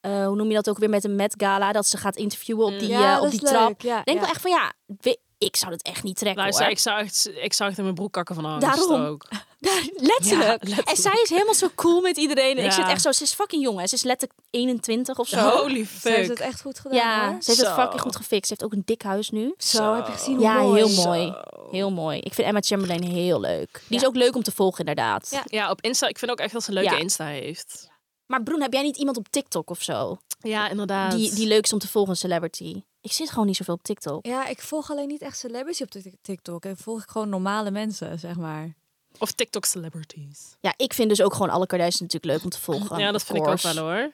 Speaker 1: eh, hoe noem je dat ook weer met een Met Gala, dat ze gaat interviewen
Speaker 2: Mm.
Speaker 1: op die,
Speaker 3: Ja,
Speaker 1: eh,
Speaker 3: dat
Speaker 1: op
Speaker 3: is
Speaker 1: die
Speaker 3: leuk.
Speaker 1: trap.
Speaker 3: Ja,
Speaker 1: Ik denk
Speaker 3: ja.
Speaker 1: wel echt van ja, we- ik zou dat echt niet trekken.
Speaker 2: Luister,
Speaker 1: hoor.
Speaker 2: ik zou, echt, ik zou echt in mijn broek kakken van angst
Speaker 1: Daarom.
Speaker 2: ook. Ja,
Speaker 1: letterlijk.
Speaker 2: letterlijk.
Speaker 1: En zij is helemaal zo cool met iedereen. En Ik
Speaker 2: Ja.
Speaker 1: zit echt zo, ze is fucking jong. hè. Ze is letterlijk 21 of zo.
Speaker 2: Holy
Speaker 3: Ze heeft het
Speaker 2: fuck.
Speaker 3: echt goed gedaan.
Speaker 1: Ja,
Speaker 3: hoor.
Speaker 1: ze heeft
Speaker 2: Zo.
Speaker 1: het fucking goed gefixt. Ze heeft ook een dik huis nu.
Speaker 3: Zo, heb je gezien hoe
Speaker 1: Ja,
Speaker 3: mooi.
Speaker 1: heel mooi. Heel mooi. Ik vind Emma Chamberlain heel leuk. Die is
Speaker 3: Ja.
Speaker 1: ook leuk om te volgen, inderdaad.
Speaker 3: Ja.
Speaker 2: Ja, op Insta. Ik vind ook echt dat ze een leuke
Speaker 1: Ja.
Speaker 2: Insta heeft.
Speaker 1: Maar Broen, heb jij niet iemand op TikTok of zo?
Speaker 2: Ja, inderdaad.
Speaker 1: Die, die leuk is om te volgen, een celebrity? Ik zit gewoon niet zoveel op TikTok.
Speaker 3: Ja, ik volg alleen niet echt celebrities op tik- TikTok. En volg ik gewoon normale mensen, zeg maar.
Speaker 2: Of TikTok celebrities.
Speaker 1: Ja, ik vind dus ook gewoon alle Kardashians natuurlijk leuk om te volgen.
Speaker 2: ja, dat
Speaker 1: of
Speaker 2: vind ik ook
Speaker 1: course.
Speaker 2: wel hoor.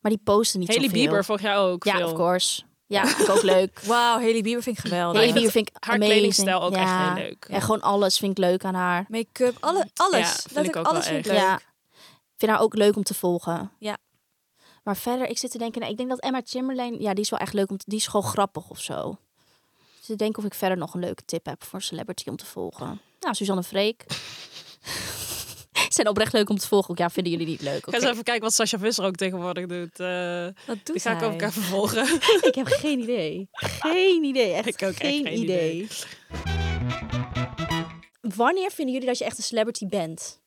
Speaker 1: Maar die posten niet
Speaker 2: Haley
Speaker 1: zoveel.
Speaker 2: Bieber volg jij ook
Speaker 1: Ja,
Speaker 2: veel.
Speaker 1: of course. Ja, vind ik ook leuk.
Speaker 3: Wauw, Haley Bieber vind ik geweldig.
Speaker 1: Haley Bieber vind ik
Speaker 2: haar
Speaker 1: amazing.
Speaker 2: kledingstijl ook echt heel leuk.
Speaker 1: En gewoon alles vind ik leuk aan haar.
Speaker 3: Make-up, alle, alles.
Speaker 2: Ja, vind ik
Speaker 3: Letterlijk
Speaker 2: ook wel
Speaker 3: alles vind ik
Speaker 2: echt.
Speaker 3: leuk.
Speaker 1: Ja. Ik vind haar ook leuk om te volgen.
Speaker 3: Ja.
Speaker 1: Maar verder, ik zit te denken, nou, ik denk dat Emma Chamberlain, ja, die is wel echt leuk om te, die is gewoon grappig of zo. Dus ik denk of ik verder nog een leuke tip heb voor een celebrity om te volgen. Nou, Suzanne Freek. Zijn oprecht leuk om te volgen. ook. Ja, vinden jullie niet leuk?
Speaker 2: Ga eens
Speaker 1: Oké.
Speaker 2: even kijken wat Sasha Visser ook tegenwoordig doet. Eh
Speaker 3: Wat doet
Speaker 2: die ga ik ook
Speaker 3: hij?
Speaker 2: even volgen.
Speaker 1: Ik heb geen idee. Geen idee. Echt
Speaker 2: Ik ook echt
Speaker 1: geen,
Speaker 2: geen
Speaker 1: idee. Wanneer vinden jullie dat je echt een celebrity bent?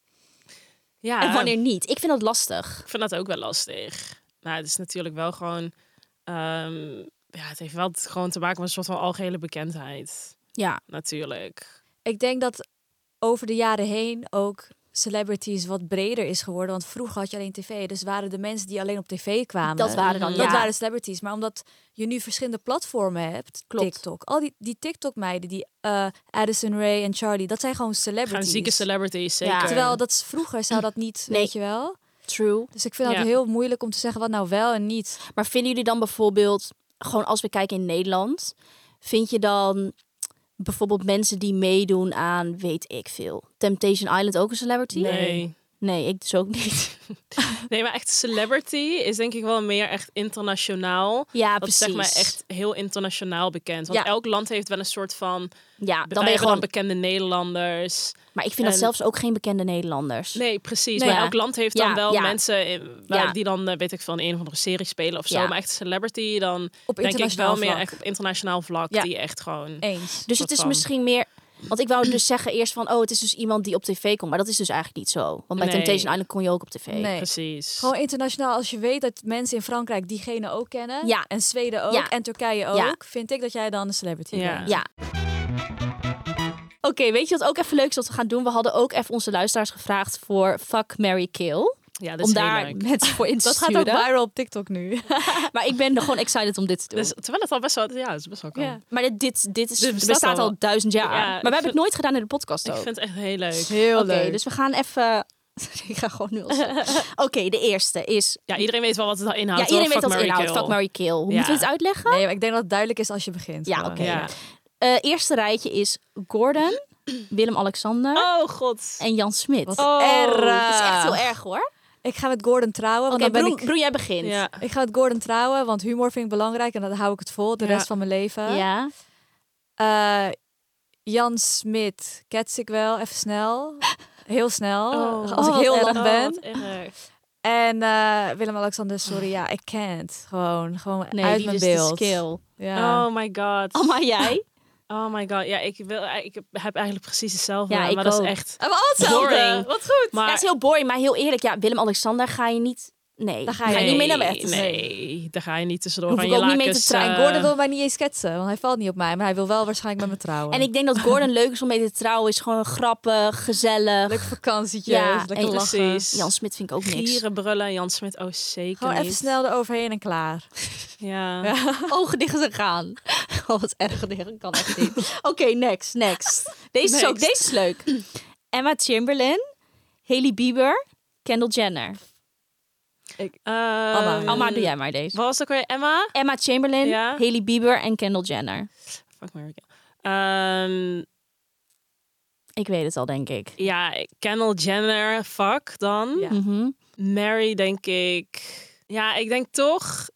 Speaker 2: ja,
Speaker 1: En wanneer niet? Ik vind dat lastig.
Speaker 2: ik vind dat ook wel lastig. Nou, het is natuurlijk wel gewoon... ehm, ja, het heeft wel t- gewoon te maken met een soort van algehele bekendheid.
Speaker 1: Ja.
Speaker 2: Natuurlijk.
Speaker 3: Ik denk dat over de jaren heen ook celebrities wat breder is geworden. Want vroeger had je alleen tv. Dus waren de mensen die alleen op tv kwamen.
Speaker 1: Dat waren dan,
Speaker 3: Dat
Speaker 1: ja.
Speaker 3: waren celebrities. Maar omdat je nu verschillende platformen hebt.
Speaker 1: Klopt.
Speaker 3: TikTok. Al die, die Tiktok-meiden, die eh Addison Ray en Charlie. Dat zijn gewoon celebrities.
Speaker 2: Gaan zieke celebrities,
Speaker 1: Ja.
Speaker 2: zeker.
Speaker 3: Terwijl dat is, vroeger zou dat niet,
Speaker 1: Nee.
Speaker 3: weet je wel.
Speaker 1: True.
Speaker 3: Dus ik vind het
Speaker 2: Ja.
Speaker 3: heel moeilijk om te zeggen wat nou wel en niet.
Speaker 1: Maar vinden jullie dan bijvoorbeeld, gewoon als we kijken in Nederland, vind je dan bijvoorbeeld mensen die meedoen aan weet ik veel? Temptation Island ook een celebrity?
Speaker 2: Nee.
Speaker 1: Nee, ik dus ook niet.
Speaker 2: nee, maar echt celebrity is denk ik wel meer echt internationaal.
Speaker 1: Ja,
Speaker 2: dat is
Speaker 1: precies.
Speaker 2: zeg maar echt heel internationaal bekend. Want
Speaker 1: Ja.
Speaker 2: elk land heeft wel een soort van...
Speaker 1: Ja,
Speaker 2: Dan
Speaker 1: dan ben je gewoon.
Speaker 2: bekende Nederlanders.
Speaker 1: Maar ik vind dat
Speaker 2: en-
Speaker 1: zelfs ook geen bekende Nederlanders.
Speaker 2: Nee, precies.
Speaker 1: Nee.
Speaker 2: maar
Speaker 1: Nou Ja.
Speaker 2: elk land heeft
Speaker 1: Ja,
Speaker 2: dan wel
Speaker 1: ja.
Speaker 2: mensen in- waar-
Speaker 1: Ja.
Speaker 2: die dan, eh, weet ik veel, in een of andere serie spelen of zo.
Speaker 1: Ja.
Speaker 2: Maar echt celebrity, dan
Speaker 3: Op
Speaker 2: denk ik wel
Speaker 3: internationaal
Speaker 2: meer
Speaker 3: vlak.
Speaker 2: echt op internationaal vlak.
Speaker 1: Ja.
Speaker 2: Die echt gewoon...
Speaker 3: Eens.
Speaker 1: Dus
Speaker 2: soort
Speaker 1: het is
Speaker 2: van.
Speaker 1: misschien meer. Want ik wou dus zeggen eerst van, oh, het is dus iemand die op tv komt. Maar dat is dus eigenlijk niet zo. Want bij
Speaker 2: Nee.
Speaker 1: Temptation Island kon je ook op tv.
Speaker 3: Nee.
Speaker 2: Precies.
Speaker 3: Gewoon internationaal, als je weet dat mensen in Frankrijk diegene ook kennen.
Speaker 1: Ja.
Speaker 3: En Zweden ook.
Speaker 1: Ja.
Speaker 3: En Turkije ook.
Speaker 1: Ja.
Speaker 3: Vind ik dat jij dan een celebrity
Speaker 2: Ja.
Speaker 3: bent.
Speaker 1: Ja. Oké, weet je wat ook even leuk is dat we gaan doen? We hadden ook even onze luisteraars gevraagd voor Fuck, Mary Kill.
Speaker 2: Ja, dat
Speaker 1: Om
Speaker 2: is heel
Speaker 1: daar
Speaker 2: leuk.
Speaker 1: mensen voor in te
Speaker 3: Dat gaat ook
Speaker 1: sturen.
Speaker 3: viral op TikTok nu.
Speaker 1: Maar ik ben er gewoon excited om dit te doen.
Speaker 2: Dus, terwijl het al best wel... Ja, het is best wel kan.
Speaker 3: Ja.
Speaker 1: maar dit, dit, dit is,
Speaker 2: Dit
Speaker 1: bestaat,
Speaker 2: bestaat
Speaker 1: al.
Speaker 2: al.
Speaker 1: duizend jaar.
Speaker 2: Ja, ik
Speaker 1: maar we hebben het
Speaker 2: vind-
Speaker 1: nooit gedaan in de podcast
Speaker 2: Ik
Speaker 1: ook.
Speaker 2: vind het echt heel leuk.
Speaker 3: Heel
Speaker 1: Oké, dus we gaan even... ik ga gewoon nul zetten. Oké, de eerste is...
Speaker 2: Ja, iedereen weet wel wat Nou, het inhoudt.
Speaker 1: Ja, iedereen
Speaker 2: hoor.
Speaker 1: weet
Speaker 2: Fuck,
Speaker 1: dat het
Speaker 2: Marry,
Speaker 1: inhoudt.
Speaker 2: Kill.
Speaker 1: Fuck, Mary Kill. Hoe
Speaker 2: Ja.
Speaker 1: moeten we het uitleggen?
Speaker 3: Nee, maar ik denk dat het duidelijk is als je begint.
Speaker 1: Ja,
Speaker 3: gewoon.
Speaker 1: oké.
Speaker 2: Ja.
Speaker 1: Eh, eerste rijtje is Gordon, Willem-Alexander
Speaker 2: Oh, god.
Speaker 1: en Jan Smit.
Speaker 3: Wat
Speaker 2: Oh.
Speaker 3: erg.
Speaker 1: Dat is echt heel erg hoor.
Speaker 3: Ik ga met Gordon trouwen, want
Speaker 1: Oké,
Speaker 3: dan ben
Speaker 1: Broen,
Speaker 3: ik...
Speaker 1: Broen, jij begint.
Speaker 2: Ja.
Speaker 3: Ik ga met Gordon trouwen, want humor vind ik belangrijk. En dan hou ik het vol de
Speaker 2: Ja.
Speaker 3: rest van mijn leven.
Speaker 1: Ja.
Speaker 3: Eh, Jan Smit kets ik wel, even snel. Heel snel, als ik
Speaker 1: Oh,
Speaker 3: heel
Speaker 1: wat
Speaker 3: lang
Speaker 2: Oh,
Speaker 3: ben.
Speaker 2: wat erg.
Speaker 3: En eh, Willem-Alexander, sorry, ja, ik can't. Gewoon, gewoon
Speaker 1: Nee,
Speaker 3: uit
Speaker 1: die
Speaker 3: mijn
Speaker 1: is de Oh,
Speaker 3: beeld.
Speaker 1: skill.
Speaker 3: Ja.
Speaker 2: Oh my god.
Speaker 1: Amma, jij?
Speaker 2: Oh my god, ja, ik, wil, ik heb eigenlijk precies hetzelfde.
Speaker 1: Ja,
Speaker 2: maar
Speaker 1: ik
Speaker 2: dat
Speaker 1: ook.
Speaker 2: is echt.
Speaker 3: Hebben we al hetzelfde.
Speaker 2: Boring.
Speaker 3: Wat goed.
Speaker 2: Maar
Speaker 1: Dat is heel boring, maar heel eerlijk. Ja, Willem-Alexander ga je niet... Nee,
Speaker 3: Daar
Speaker 1: daar
Speaker 3: ga
Speaker 1: ga
Speaker 3: je
Speaker 1: je niet mee naar bed.
Speaker 2: Nee, nee, daar ga je niet tussendoor
Speaker 1: Hoef
Speaker 2: van
Speaker 1: ik
Speaker 2: je
Speaker 1: ook niet mee te
Speaker 2: lakens,
Speaker 1: trekken.
Speaker 2: eh,
Speaker 3: Gordon wil mij niet eens ketsen, want hij valt niet op mij. Maar hij wil wel waarschijnlijk met me trouwen.
Speaker 1: En ik denk dat Gordon leuk is om mee te trouwen. Is gewoon grappig, gezellig.
Speaker 3: Leuk vakantietje,
Speaker 1: Ja,
Speaker 3: lekker
Speaker 1: en-
Speaker 3: lachen.
Speaker 2: Precies.
Speaker 1: Jan Smit vind ik ook niks.
Speaker 2: Gieren, brullen, Jan Smit. Oh, zeker
Speaker 3: Gewoon
Speaker 2: niet.
Speaker 3: even snel eroverheen en klaar.
Speaker 2: Ja.
Speaker 1: Ogen dicht en gaan. Oh, wat erg. Dat kan echt niet. Oké, next, next. Deze is ook,
Speaker 2: Next.
Speaker 1: deze is leuk. Emma Chamberlain, Haley Bieber, Kendall Jenner.
Speaker 2: Eh,
Speaker 3: Amma.
Speaker 1: Amma, doe jij maar deze.
Speaker 2: Wat was het ook weer? Emma?
Speaker 1: Emma Chamberlain,
Speaker 2: Ja.
Speaker 1: Haley Bieber en Kendall Jenner.
Speaker 2: Fuck Mary Kill. Ehm,
Speaker 1: Ik weet het al, denk ik.
Speaker 2: ja, Kendall Jenner, fuck dan.
Speaker 3: Ja.
Speaker 1: Mhm.
Speaker 2: Mary, denk ik. Ja, ik denk toch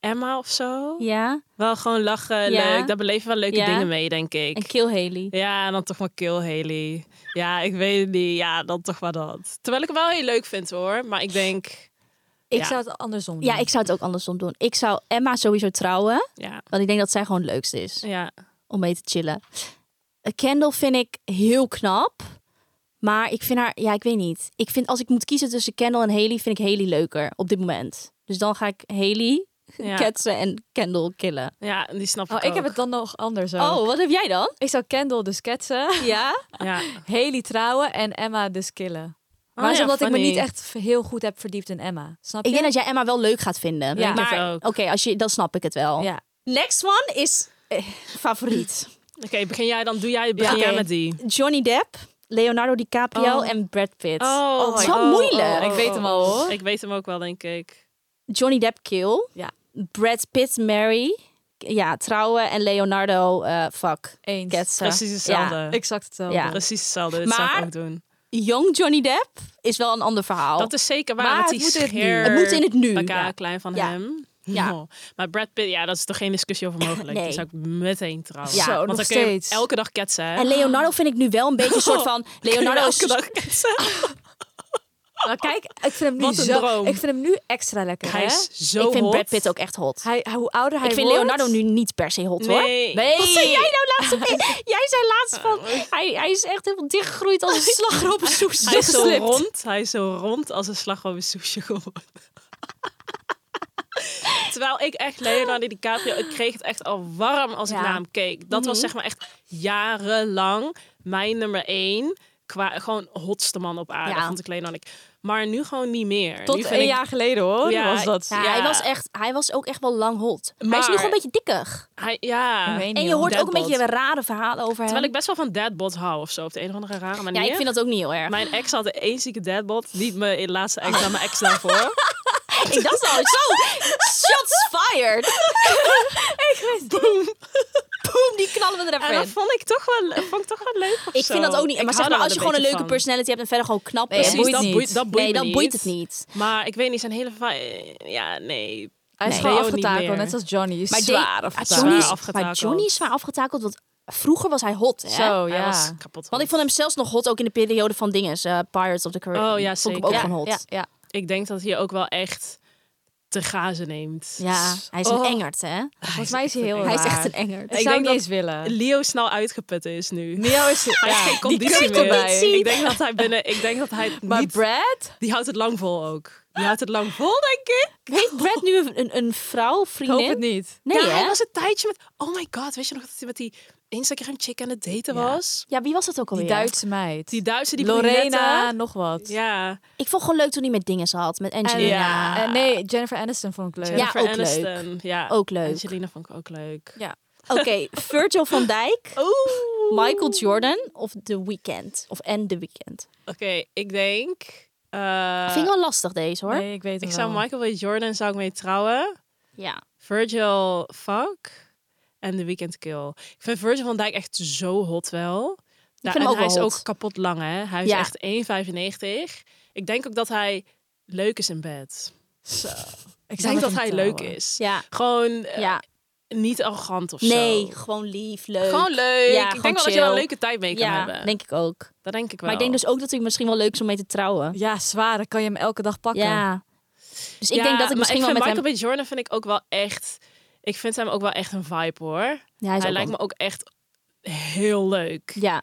Speaker 2: Emma of zo.
Speaker 1: Ja,
Speaker 2: Wel gewoon lachen,
Speaker 1: Ja.
Speaker 2: leuk. Daar beleven wel leuke
Speaker 1: Ja.
Speaker 2: dingen mee, denk ik.
Speaker 1: en kill Haley.
Speaker 2: Ja, en dan toch maar Kill Haley. Ja, ik weet het niet. Ja, dan toch maar dat. Terwijl ik hem wel heel leuk vind hoor. Maar ik denk,
Speaker 3: Ik
Speaker 2: Ja.
Speaker 3: zou het andersom doen.
Speaker 1: Ja, ik zou het ook andersom doen. Ik zou Emma sowieso trouwen,
Speaker 2: ja.
Speaker 1: want ik denk dat zij gewoon het leukste is.
Speaker 2: Ja,
Speaker 1: om mee te chillen. Eh, Kendall vind ik heel knap. Maar ik vind haar, ja, ik weet niet. Ik vind als ik moet kiezen tussen Kendall en Haley, vind ik Haley leuker op dit moment. Dus dan ga ik Haley
Speaker 2: ja.
Speaker 1: ketsen en Kendall killen.
Speaker 2: ja en die snap ik
Speaker 3: Oh, ik heb
Speaker 2: ook.
Speaker 3: het dan nog anders ook.
Speaker 1: Oh, wat heb jij dan?
Speaker 3: Ik zou Kendall dus ketsen,
Speaker 1: Ja?
Speaker 2: Ja.
Speaker 3: Haley trouwen en Emma dus killen. Maar dat
Speaker 2: Oh
Speaker 3: is
Speaker 2: ja,
Speaker 3: omdat ik me
Speaker 2: funny.
Speaker 3: niet echt v- heel goed heb verdiept in Emma. Snap je?
Speaker 1: Ik denk dat jij Emma wel leuk gaat vinden.
Speaker 3: Ja. Ik
Speaker 2: denk het
Speaker 1: maar
Speaker 2: ook.
Speaker 1: oké, als je, dan snap ik het wel.
Speaker 3: Ja.
Speaker 1: Next one is eh, favoriet.
Speaker 2: Oké, begin jij dan. Doe jij, begin
Speaker 1: Ja.
Speaker 2: jij
Speaker 1: Oké.
Speaker 2: met die.
Speaker 1: Johnny Depp, Leonardo DiCaprio
Speaker 2: Oh.
Speaker 1: en Brad Pitt.
Speaker 2: Oh,
Speaker 1: is wel moeilijk.
Speaker 3: Ik weet hem al,
Speaker 1: Oh.
Speaker 3: hoor.
Speaker 2: Ik weet hem ook wel, denk ik.
Speaker 1: Johnny Depp kill.
Speaker 3: Ja.
Speaker 1: Brad Pitt marry. Ja, trouwen. En Leonardo, eh, fuck.
Speaker 3: Eens.
Speaker 1: Ketsen.
Speaker 2: Precies hetzelfde.
Speaker 3: Exact hetzelfde.
Speaker 1: Ja.
Speaker 2: Precies hetzelfde. Dit zou ik
Speaker 1: Maar-
Speaker 2: ook doen.
Speaker 1: Young Johnny Depp is wel een ander verhaal.
Speaker 2: Dat is zeker waar.
Speaker 3: Maar
Speaker 2: want
Speaker 3: het
Speaker 2: die
Speaker 3: moet in het nu.
Speaker 2: scheer
Speaker 1: Het moet in het nu,
Speaker 2: elkaar
Speaker 1: ja.
Speaker 2: klein van
Speaker 1: Ja.
Speaker 2: hem.
Speaker 1: Ja.
Speaker 2: Oh. Maar Brad Pitt, ja, dat is toch geen discussie over mogelijk.
Speaker 1: Nee.
Speaker 2: Die zou ik meteen trouwen.
Speaker 1: Ja. Zo,
Speaker 2: Want
Speaker 3: nog
Speaker 2: dan kun je
Speaker 3: steeds.
Speaker 2: elke dag ketsen. hè?
Speaker 1: En Leonardo vind ik nu wel een beetje een
Speaker 2: Oh.
Speaker 1: soort van... Leonardo
Speaker 2: elke
Speaker 1: is...
Speaker 2: dag ketsen.
Speaker 3: Maar Nou, kijk, ik vind hem nu
Speaker 2: Wat een
Speaker 3: zo...
Speaker 2: droom.
Speaker 3: Ik vind hem nu extra lekker,
Speaker 2: Hij
Speaker 3: hè?
Speaker 2: is zo
Speaker 1: ik vind
Speaker 2: hot.
Speaker 1: Brad Pitt ook echt hot.
Speaker 3: Hij, hij- hoe ouder hij
Speaker 1: ik vind
Speaker 3: wordt...
Speaker 1: Leonardo nu niet per se hot, hoor.
Speaker 2: Nee.
Speaker 1: Wat zei jij nou laatste keer? Jij zei laatst van... Hij, hij is echt helemaal dichtgegroeid als een slagroom soes.
Speaker 2: Hij is zo rond. Hij is zo rond als een slagroom soesje geworden. Terwijl ik echt Leonardo DiCaprio, ik kreeg het echt al warm als
Speaker 1: Ja. Mhm.
Speaker 2: ik naar hem keek. Dat was zeg maar echt jarenlang mijn nummer één. Qua gewoon hotste man op aarde,
Speaker 1: Ja.
Speaker 2: vond ik Leonardo. Ik. Maar nu gewoon niet meer. nu
Speaker 3: Tot
Speaker 2: vind
Speaker 3: een
Speaker 2: ik-
Speaker 3: jaar geleden, hoor.
Speaker 2: Ja,
Speaker 3: was dat.
Speaker 1: Ja,
Speaker 2: Ja.
Speaker 1: Hij, was echt, hij was ook echt wel lang hot. Maar hij is nu
Speaker 2: Maar-
Speaker 1: gewoon een beetje dikkig.
Speaker 2: Hij, ja.
Speaker 3: Ik weet niet,
Speaker 1: En je
Speaker 3: joh.
Speaker 1: hoort ook een
Speaker 2: Deadbot.
Speaker 1: beetje rare verhalen over hem.
Speaker 2: Terwijl ik best wel van deadbot hou of zo. Op de een of andere rare manier.
Speaker 1: ja, ik vind dat ook niet heel erg.
Speaker 2: Mijn ex had één zieke deadbot. Niet mijn laatste ex,
Speaker 1: Ah.
Speaker 2: maar mijn ex daarvoor.
Speaker 1: ik dacht al zo, shots fired.
Speaker 2: Boom.
Speaker 1: Boom, die knallen we er
Speaker 2: En
Speaker 1: even
Speaker 2: dat
Speaker 1: in.
Speaker 2: vond ik toch wel, vond ik toch wel leuk of
Speaker 1: Ik
Speaker 2: zo.
Speaker 1: vind dat ook niet.
Speaker 2: Ik
Speaker 1: Maar
Speaker 2: hou
Speaker 1: zeg maar,
Speaker 2: daar
Speaker 1: als je
Speaker 2: wel
Speaker 1: gewoon een leuke
Speaker 2: beetje van.
Speaker 1: personality hebt en verder gewoon knap
Speaker 3: Nee,
Speaker 1: is.
Speaker 3: dat boeit
Speaker 2: dat
Speaker 3: niet.
Speaker 2: boeit, dat boeit
Speaker 1: nee,
Speaker 2: me
Speaker 1: dan
Speaker 2: niet.
Speaker 1: boeit het niet.
Speaker 2: Maar ik weet niet, zijn hele... va- eh, Ja, nee.
Speaker 3: Hij
Speaker 1: Nee.
Speaker 3: is gewoon
Speaker 2: Leo niet
Speaker 3: afgetakeld,
Speaker 2: meer.
Speaker 3: net als Johnny. Is
Speaker 1: Maar
Speaker 3: zwaar
Speaker 1: Dave-
Speaker 3: afgetakeld.
Speaker 1: Johnny is,
Speaker 2: Zwaar afgetakeld.
Speaker 1: Maar Johnny is zwaar afgetakeld, want vroeger was hij hot, hè?
Speaker 3: Zo,
Speaker 2: Hij
Speaker 3: ja.
Speaker 2: was kapot.
Speaker 1: Oh, Want ik vond hem zelfs nog hot, ook in de periode van dingen, eh, Pirates of the Caribbean.
Speaker 2: Oh, ja,
Speaker 1: Vond
Speaker 2: zeker.
Speaker 1: ik hem ook
Speaker 3: ja,
Speaker 1: gewoon hot.
Speaker 3: Ja, ja.
Speaker 2: Ik denk dat hij ook wel echt te grazen neemt.
Speaker 1: Ja, hij is een
Speaker 3: Oh.
Speaker 1: engert, hè?
Speaker 3: Volgens mij is hij
Speaker 2: echt
Speaker 3: heel
Speaker 2: een
Speaker 1: Hij is
Speaker 3: raar.
Speaker 1: echt een engert.
Speaker 2: Ik
Speaker 3: Ik zou
Speaker 2: denk
Speaker 3: hem niet
Speaker 2: dat-
Speaker 3: eens willen.
Speaker 2: Leo snel uitgeput is nu.
Speaker 3: Leo is...
Speaker 2: Hij heeft
Speaker 3: Ja.
Speaker 2: geen conditie
Speaker 3: kurk
Speaker 2: meer.
Speaker 3: erbij.
Speaker 2: Ik denk dat hij binnen... Ik denk dat hij het
Speaker 3: Maar
Speaker 2: niet...
Speaker 3: Brad?
Speaker 2: Die houdt het lang vol ook. Die houdt het lang vol, denk ik.
Speaker 1: Heeft Brad nu een, een, een vrouw,
Speaker 3: Ik hoop het
Speaker 1: vriendin?
Speaker 3: niet.
Speaker 1: Nee,
Speaker 2: ja, hij
Speaker 1: hè?
Speaker 2: was een tijdje met... Oh my god, weet je nog dat hij met die Instagram-chick aan het daten
Speaker 3: Ja.
Speaker 2: was?
Speaker 1: Oh, Ja, wie was dat ook
Speaker 3: Die
Speaker 1: alweer?
Speaker 3: Duitse meid.
Speaker 2: Die Duitse, die
Speaker 3: Lorena,
Speaker 2: brunette.
Speaker 3: nog wat.
Speaker 2: Ja.
Speaker 1: Ik vond gewoon leuk toen hij met dingen zat, met
Speaker 3: En,
Speaker 1: Angelina.
Speaker 2: Ja.
Speaker 3: eh, nee, Jennifer Aniston vond ik leuk.
Speaker 1: Ja.
Speaker 2: Jennifer
Speaker 1: ook
Speaker 2: Aniston. Ja,
Speaker 1: Ook leuk.
Speaker 2: Angelina vond ik ook leuk.
Speaker 3: Ja.
Speaker 1: Oké, Virgil van Dijk,
Speaker 2: Oeh.
Speaker 1: Michael Jordan of The Weeknd. Of en The Weeknd.
Speaker 2: Oké, ik denk... eh,
Speaker 1: Vind ik wel lastig deze hoor.
Speaker 3: Nee, ik weet het
Speaker 2: ik
Speaker 3: wel.
Speaker 2: zou Michael B. Jordan zou ik mee trouwen.
Speaker 1: Ja.
Speaker 2: Virgil, fuck. En The Weeknd Kill. Ik vind Virgil van Dijk echt zo hot wel. Ja,
Speaker 1: vind hem
Speaker 2: en
Speaker 1: ook
Speaker 2: hij
Speaker 1: wel
Speaker 2: is
Speaker 1: hot.
Speaker 2: ook kapot lang, hè. Hij is
Speaker 1: Ja.
Speaker 2: echt 1,95. Ik denk ook dat hij leuk is in bed.
Speaker 3: Zo.
Speaker 2: Ik denk dat hij leuk is.
Speaker 1: Ja.
Speaker 2: Gewoon eh,
Speaker 1: ja.
Speaker 2: niet arrogant of Eh, zo.
Speaker 1: Nee, gewoon lief, leuk.
Speaker 2: Gewoon leuk.
Speaker 1: Ja,
Speaker 2: ik
Speaker 1: gewoon
Speaker 2: denk wel dat je wel een
Speaker 1: chill.
Speaker 2: leuke tijd mee kan
Speaker 1: Ja,
Speaker 2: hebben.
Speaker 1: denk ik ook.
Speaker 2: Dat denk ik wel.
Speaker 1: Maar ik denk dus ook dat hij misschien wel leuk is om mee te trouwen.
Speaker 3: Ja, zwaar. Dan kan je hem elke dag pakken.
Speaker 1: Ja. Dus ik
Speaker 2: Ja,
Speaker 1: denk dat ik
Speaker 2: maar
Speaker 1: misschien wel
Speaker 2: vind
Speaker 1: met hem...
Speaker 2: Michael B. Jordan vind ik ook wel echt... Ik vind hem ook wel echt een vibe, hoor.
Speaker 1: Ja, hij is
Speaker 2: Hij
Speaker 1: ook
Speaker 2: lijkt
Speaker 1: wel-
Speaker 2: me ook echt heel leuk.
Speaker 1: Ja.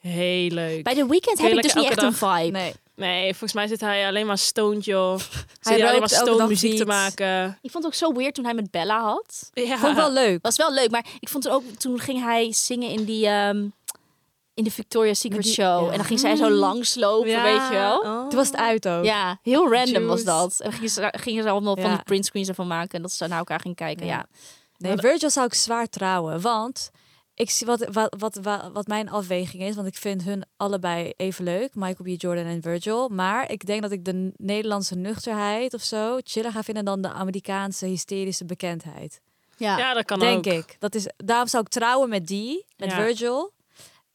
Speaker 2: Heel leuk.
Speaker 1: Bij The Weeknd
Speaker 2: Kun je
Speaker 1: heb ik dus
Speaker 2: lekker
Speaker 1: niet echt
Speaker 2: elke
Speaker 1: een vibe.
Speaker 3: Nee.
Speaker 2: Nee, volgens mij zit hij alleen maar stoned, joh. Zit hij alleen
Speaker 3: rookt
Speaker 2: maar
Speaker 3: elke dag
Speaker 2: stoned muziek te
Speaker 3: wiet.
Speaker 2: maken.
Speaker 1: Ik vond het ook zo weird toen hij met Bella had.
Speaker 2: Ja.
Speaker 3: Vond ik wel leuk.
Speaker 1: Was wel leuk, maar ik vond het ook toen ging hij zingen in die ehm, in de Victoria's Secret
Speaker 3: Met die-
Speaker 1: show
Speaker 3: ja.
Speaker 1: en dan ging zij zo langslopen,
Speaker 2: Ja.
Speaker 1: weet je wel?
Speaker 2: Oh.
Speaker 3: Toen was het uit ook.
Speaker 1: Ja, heel random was
Speaker 2: Juice.
Speaker 1: dat. En gingen ze, gingen ze allemaal van
Speaker 3: Ja.
Speaker 1: die printscreens ervan maken en dat ze naar elkaar gingen kijken. Ja.
Speaker 3: Ja. Nee, Virgil zou ik zwaar trouwen, want ik zie wat, wat, wat, wat, wat mijn afweging is, want ik vind hun allebei even leuk, Michael B. Jordan en Virgil, maar ik denk dat ik de Nederlandse nuchterheid of zo chiller ga vinden dan de Amerikaanse hysterische bekendheid.
Speaker 1: Ja.
Speaker 2: Ja, dat kan
Speaker 3: denk
Speaker 2: ook.
Speaker 3: ik. Dat is, daarom zou ik trouwen met die, met
Speaker 2: Ja.
Speaker 3: Virgil,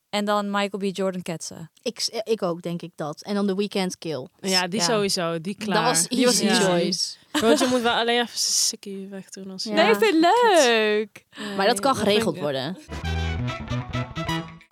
Speaker 3: en dan Michael B. Jordan ketsen.
Speaker 1: Ik, ik ook, denk ik dat. En dan de weekend kill.
Speaker 2: Ja, die
Speaker 3: Ja.
Speaker 2: sowieso. Die klaar.
Speaker 1: Dat was
Speaker 2: die was
Speaker 1: easy
Speaker 2: easy.
Speaker 1: choice.
Speaker 2: Want je moet wel alleen even sikkie weg doen als
Speaker 1: Ja. Nee, ik
Speaker 3: vind leuk.
Speaker 1: Maar Ehm, dat kan geregeld
Speaker 2: ik-
Speaker 1: worden.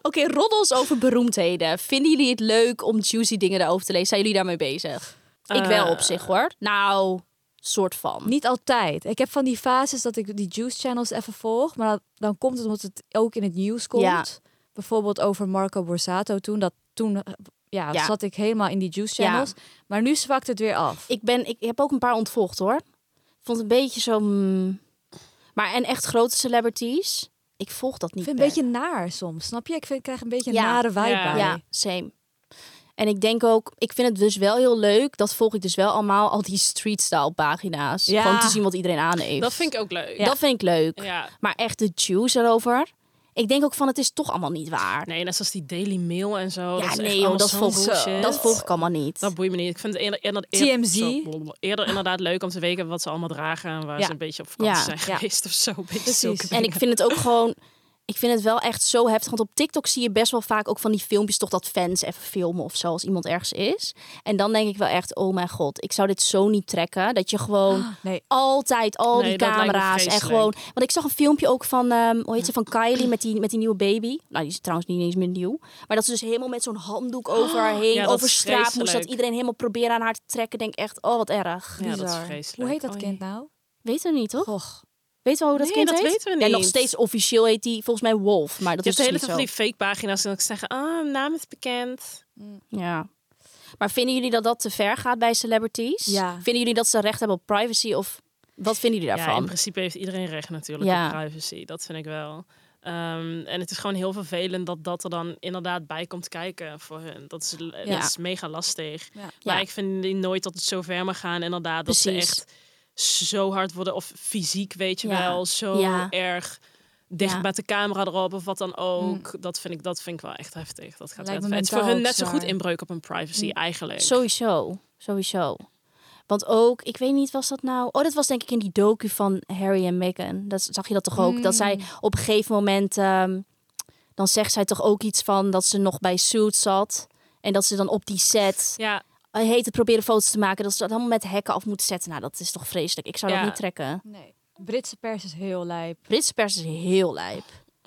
Speaker 1: Oké, roddels over beroemdheden. Vinden jullie het leuk om juicy dingen daarover te lezen? Zijn jullie daarmee bezig? ik wel op zich hoor. Nou, soort van.
Speaker 3: Niet altijd. Ik heb van die fases dat ik die juice channels even volg. Maar dan- dan komt het omdat het ook in het nieuws komt.
Speaker 1: Ja.
Speaker 3: Bijvoorbeeld over Marco Borsato toen. Dat, toen eh, ja,
Speaker 1: Ja.
Speaker 3: zat ik helemaal in die juice
Speaker 1: Ja.
Speaker 3: channels. Maar nu zwakt het weer af.
Speaker 1: Ik, ben, ik heb ook een paar ontvolgd hoor. Ik Vond het een beetje zo. mm. Maar en echt grote celebrities. Ik volg dat niet.
Speaker 3: Ik vind
Speaker 1: per-
Speaker 3: het een beetje naar soms, snap je? Ik, vind, ik krijg een beetje een
Speaker 1: Ja.
Speaker 3: nare vibe
Speaker 2: Ja.
Speaker 3: bij.
Speaker 1: Ja, same. En ik denk ook, ik vind het dus wel heel leuk. Dat volg ik dus wel allemaal, al die street style pagina's.
Speaker 3: Ja.
Speaker 1: Gewoon te zien wat iedereen aan heeft.
Speaker 2: Dat vind ik ook leuk.
Speaker 1: Dat vind ik leuk.
Speaker 2: Ja.
Speaker 1: Maar echt de juice erover. Ik denk ook van het is toch allemaal niet waar.
Speaker 2: Nee, net zoals die Daily Mail en zo.
Speaker 1: ja,
Speaker 2: Oh, dat is echt
Speaker 1: nee joh,
Speaker 2: allemaal
Speaker 1: dat
Speaker 2: zo'n
Speaker 1: volg,
Speaker 2: bullshit.
Speaker 1: dat volg ik allemaal niet.
Speaker 2: Dat boeit me niet. Ik vind het eerder, eerder,
Speaker 3: TMZ.
Speaker 2: zo, blablabla. eerder inderdaad leuk om te weten wat ze allemaal dragen en waar
Speaker 3: Ja.
Speaker 2: ze een beetje op vakantie
Speaker 1: Ja,
Speaker 2: zijn
Speaker 3: ja.
Speaker 2: geweest of zo. Een beetje
Speaker 3: Precies.
Speaker 2: zulke
Speaker 1: En ik
Speaker 2: dingen.
Speaker 1: vind het ook gewoon. Ik vind het wel echt zo heftig. Want op TikTok zie je best wel vaak ook van die filmpjes, toch dat fans even filmen of zo als iemand ergens is. En dan denk ik wel echt, oh mijn god, ik zou dit zo niet trekken. Dat je gewoon
Speaker 3: Nee.
Speaker 1: altijd al
Speaker 2: Nee,
Speaker 1: die
Speaker 2: dat lijkt me
Speaker 1: camera's en
Speaker 2: vreselijk.
Speaker 1: gewoon. Want ik zag een filmpje ook van, ehm, hoe heet ze, van Kylie met die, met die nieuwe baby. Nou, die is trouwens niet eens meer nieuw. Maar dat ze dus helemaal met zo'n handdoek over haar heen,
Speaker 2: ja, dat
Speaker 1: over
Speaker 2: is
Speaker 1: straat moest. Dat
Speaker 2: vreselijk.
Speaker 1: iedereen helemaal proberen aan haar te trekken. Denk echt, oh wat erg.
Speaker 2: Ja, dat is
Speaker 3: Bizar.
Speaker 2: vreselijk. Oh,
Speaker 3: Hoe heet dat
Speaker 2: Oei.
Speaker 3: kind nou?
Speaker 1: Weet er niet, toch?
Speaker 3: Och.
Speaker 1: Weet wel hoe dat
Speaker 2: Nee,
Speaker 1: kind
Speaker 2: dat
Speaker 1: heet?
Speaker 2: weten we
Speaker 1: Ja, nog
Speaker 2: niet.
Speaker 1: steeds officieel heet die volgens mij Wolf, maar dat
Speaker 2: je hebt
Speaker 1: is
Speaker 2: de hele
Speaker 1: dus
Speaker 2: tijd van die
Speaker 1: niet
Speaker 2: fake pagina's en dan zeggen, ah, naam is bekend.
Speaker 1: zo. Ja. Maar vinden jullie dat dat te ver gaat bij celebrities?
Speaker 3: Ja.
Speaker 1: Vinden jullie dat ze recht hebben op privacy of wat vinden jullie
Speaker 2: Ja, in
Speaker 1: daarvan?
Speaker 2: principe heeft iedereen recht natuurlijk
Speaker 1: Ja.
Speaker 2: op privacy. Dat vind ik wel. Ehm, en het is gewoon heel vervelend dat dat er dan inderdaad bij komt kijken voor hun. Dat is, dat is mega lastig.
Speaker 3: Ja.
Speaker 2: Maar
Speaker 1: Ja.
Speaker 2: ik vind die nooit dat het zo ver mag gaan. Inderdaad, dat
Speaker 1: Precies.
Speaker 2: ze echt zo hard worden. Of fysiek, weet je
Speaker 1: Ja.
Speaker 2: wel. Zo
Speaker 1: Ja.
Speaker 2: erg dicht
Speaker 1: Ja. Mm.
Speaker 2: met de camera erop of wat dan ook. Dat, vind ik, dat vind ik wel echt heftig. Dat gaat wel
Speaker 3: Lijkt me
Speaker 2: ver. Het is voor
Speaker 3: mentaal
Speaker 2: hun
Speaker 3: ook
Speaker 2: net zo goed
Speaker 3: zwaar.
Speaker 2: inbreuk op hun privacy
Speaker 1: Mm.
Speaker 2: eigenlijk.
Speaker 1: Sowieso, sowieso. Want ook, ik weet niet, was dat nou... Oh, dat was denk ik in die docu van Harry en Meghan. Dat, zag je dat toch ook? Dat
Speaker 2: Hmm.
Speaker 1: zij op een gegeven moment... ehm, dan zegt zij toch ook iets van dat ze nog bij Suits zat. En dat ze dan op die set...
Speaker 2: Ja,
Speaker 1: Hij heet het proberen foto's te maken. Dat ze dat helemaal met hekken af moeten zetten. Nou, dat is toch vreselijk. Ik zou
Speaker 2: Ja.
Speaker 1: dat niet trekken.
Speaker 3: Nee. Britse pers is heel lijp.
Speaker 1: Britse pers is heel lijp.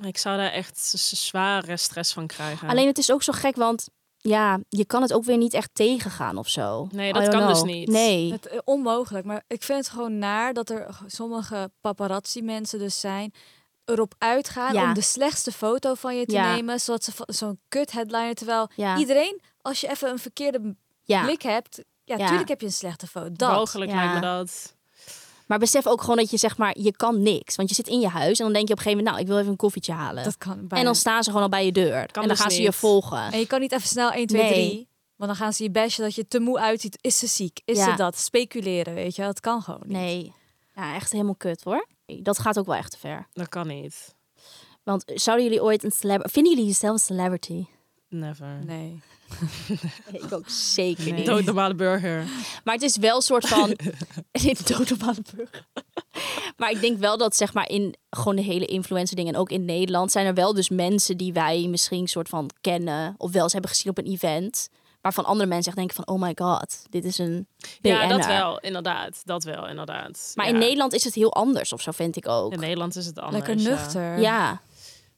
Speaker 2: ik zou daar echt z- z- zware stress van krijgen.
Speaker 1: Alleen het is ook zo gek, want ja, je kan het ook weer niet echt tegengaan of zo.
Speaker 2: Nee,
Speaker 1: I
Speaker 2: dat
Speaker 1: don't
Speaker 2: kan dus
Speaker 1: know.
Speaker 2: niet.
Speaker 1: Nee.
Speaker 3: Het, eh, onmogelijk, maar ik vind het gewoon naar dat er sommige paparazzi mensen dus zijn erop uitgaan
Speaker 1: Ja.
Speaker 3: om de slechtste foto van je te
Speaker 1: Ja.
Speaker 3: nemen, zodat ze va- zo'n kut headliner terwijl
Speaker 1: Ja.
Speaker 3: iedereen als je even een verkeerde
Speaker 1: ja.
Speaker 3: blik hebt, ja,
Speaker 1: Ja.
Speaker 3: tuurlijk heb je een slechte foto. Dat.
Speaker 2: Mogelijk
Speaker 1: ja.
Speaker 2: lijkt me dat.
Speaker 1: Maar besef ook gewoon dat je zeg maar, je kan niks. Want je zit in je huis en dan denk je op een gegeven moment, nou, ik wil even een koffietje halen.
Speaker 3: Dat kan bijna.
Speaker 1: en dan staan ze gewoon al bij je deur. en dan
Speaker 2: dus
Speaker 1: gaan ze je
Speaker 2: niet.
Speaker 1: volgen.
Speaker 3: En je kan niet even snel 1 2 3,
Speaker 1: Nee.
Speaker 3: want dan gaan ze je bashen dat je te moe uitziet. Is ze ziek? Is
Speaker 1: Ja.
Speaker 3: ze dat? Speculeren, weet je? wel. Dat kan gewoon niet.
Speaker 1: Nee. Ja, echt helemaal kut hoor. Dat gaat ook wel echt te ver.
Speaker 2: Dat kan niet.
Speaker 1: Want eh, zouden jullie ooit een celebrity... Vinden jullie jezelf een celebrity?
Speaker 2: Never.
Speaker 3: Nee.
Speaker 1: Ik ook zeker niet.
Speaker 2: Dood normale burger.
Speaker 1: Maar het is wel een soort van. Dit doodnormale burger. Maar ik denk wel dat, zeg maar, in gewoon de hele influencer dingen en ook in Nederland zijn er wel dus mensen die wij misschien een soort van kennen of wel eens hebben gezien op een event. Waarvan andere mensen echt denken van, oh my god, dit is een BN'er.
Speaker 2: Ja, dat wel, inderdaad. Dat wel, inderdaad.
Speaker 1: Maar
Speaker 2: Ja.
Speaker 1: in Nederland is het heel anders of zo, vind ik ook.
Speaker 2: In Nederland is het anders.
Speaker 3: Lekker
Speaker 2: ja.
Speaker 3: nuchter.
Speaker 1: Ja,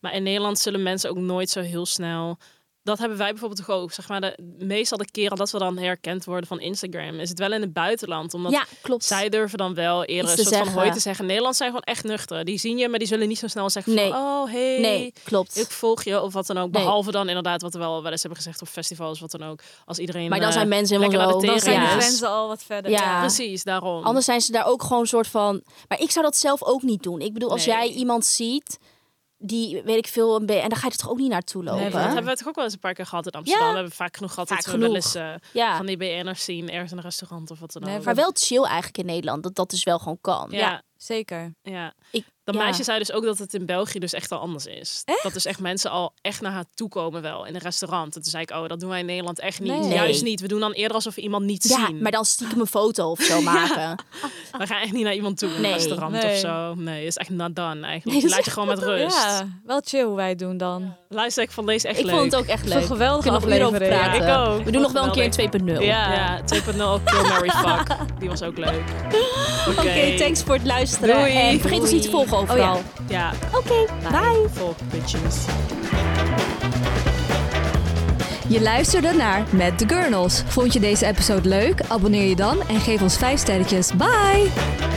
Speaker 2: Maar in Nederland zullen mensen ook nooit zo heel snel dat hebben wij bijvoorbeeld toch ook. Zeg maar, de, meestal de keren dat we dan herkend worden van Instagram, is het wel in het buitenland. Omdat
Speaker 1: Ja, klopt.
Speaker 2: zij durven dan wel eerder
Speaker 1: Iets
Speaker 2: een
Speaker 1: te
Speaker 2: soort van
Speaker 1: zeggen.
Speaker 2: hooi te zeggen. Nederland zijn gewoon echt nuchter. Die zien je, maar die zullen niet zo snel zeggen
Speaker 1: Nee.
Speaker 2: van, oh, hey,
Speaker 1: nee, klopt.
Speaker 2: ik volg je of wat dan ook.
Speaker 1: Nee.
Speaker 2: Behalve dan inderdaad wat we wel wel eens hebben gezegd op festivals, wat dan ook. Als iedereen
Speaker 1: maar dan
Speaker 2: eh,
Speaker 1: zijn mensen helemaal zo.
Speaker 2: lekker naar
Speaker 3: Dan
Speaker 2: de
Speaker 3: zijn
Speaker 2: tering
Speaker 3: de
Speaker 2: is.
Speaker 3: grenzen al wat verder.
Speaker 1: Ja.
Speaker 2: Precies, daarom.
Speaker 1: Anders zijn ze daar ook gewoon een soort van. Maar ik zou dat zelf ook niet doen. Ik bedoel, als
Speaker 2: Nee.
Speaker 1: jij iemand ziet die, weet ik veel, een be- en dan ga je er toch ook niet naartoe lopen.
Speaker 2: Nee, dat hebben we toch ook wel eens een paar keer gehad in Amsterdam.
Speaker 1: Ja.
Speaker 2: We hebben vaak genoeg gehad
Speaker 1: Vaak
Speaker 2: dat we wel
Speaker 1: genoeg.
Speaker 2: eens eh,
Speaker 1: ja.
Speaker 2: van die BN'ers zien ergens in een restaurant of wat dan ook.
Speaker 3: Nee,
Speaker 1: Maar wel chill eigenlijk in Nederland. Dat dat dus wel gewoon kan.
Speaker 2: Ja, ja.
Speaker 3: Zeker.
Speaker 1: Ik,
Speaker 2: Dat
Speaker 1: ja.
Speaker 2: meisje zei dus ook dat het in België dus echt al anders is. Dat dus echt mensen al echt naar haar toe komen wel in een restaurant. En toen zei ik, oh, dat doen wij in Nederland echt niet.
Speaker 3: Nee.
Speaker 2: Juist niet. We doen dan eerder alsof we iemand niet
Speaker 1: Ja,
Speaker 2: zien.
Speaker 1: maar dan stiekem een foto of zo maken.
Speaker 2: We gaan echt niet naar iemand toe in
Speaker 1: Nee.
Speaker 2: een restaurant
Speaker 3: Nee.
Speaker 2: of zo. Nee, is echt not done
Speaker 1: Nee,
Speaker 2: eigenlijk.
Speaker 1: dat is
Speaker 2: Laat je gewoon met rust.
Speaker 3: Ja, wel chill hoe wij het doen dan.
Speaker 2: Luister, ik vond deze echt
Speaker 1: ik
Speaker 2: leuk.
Speaker 1: vond het ook echt
Speaker 3: is
Speaker 1: leuk.
Speaker 3: een geweldige
Speaker 1: We kunnen nog uren over
Speaker 3: aflevering.
Speaker 2: Ja,
Speaker 1: praten.
Speaker 2: ik ook.
Speaker 1: We doen nog wel een keer een 2.0.
Speaker 2: Ja, ja 2.0 Kill Mary Fuck. Die was ook leuk. Oké,
Speaker 1: Oké, thanks voor het luisteren.
Speaker 2: Doei.
Speaker 1: En vergeet ons niet te
Speaker 3: Doei.
Speaker 1: volgen overal.
Speaker 3: Oh
Speaker 2: Ja,
Speaker 1: Oké, bye.
Speaker 2: volg bitches.
Speaker 4: Je luisterde naar Met de Gurnels. Vond je deze episode leuk? Abonneer je dan en geef ons 5 sterretjes. Bye!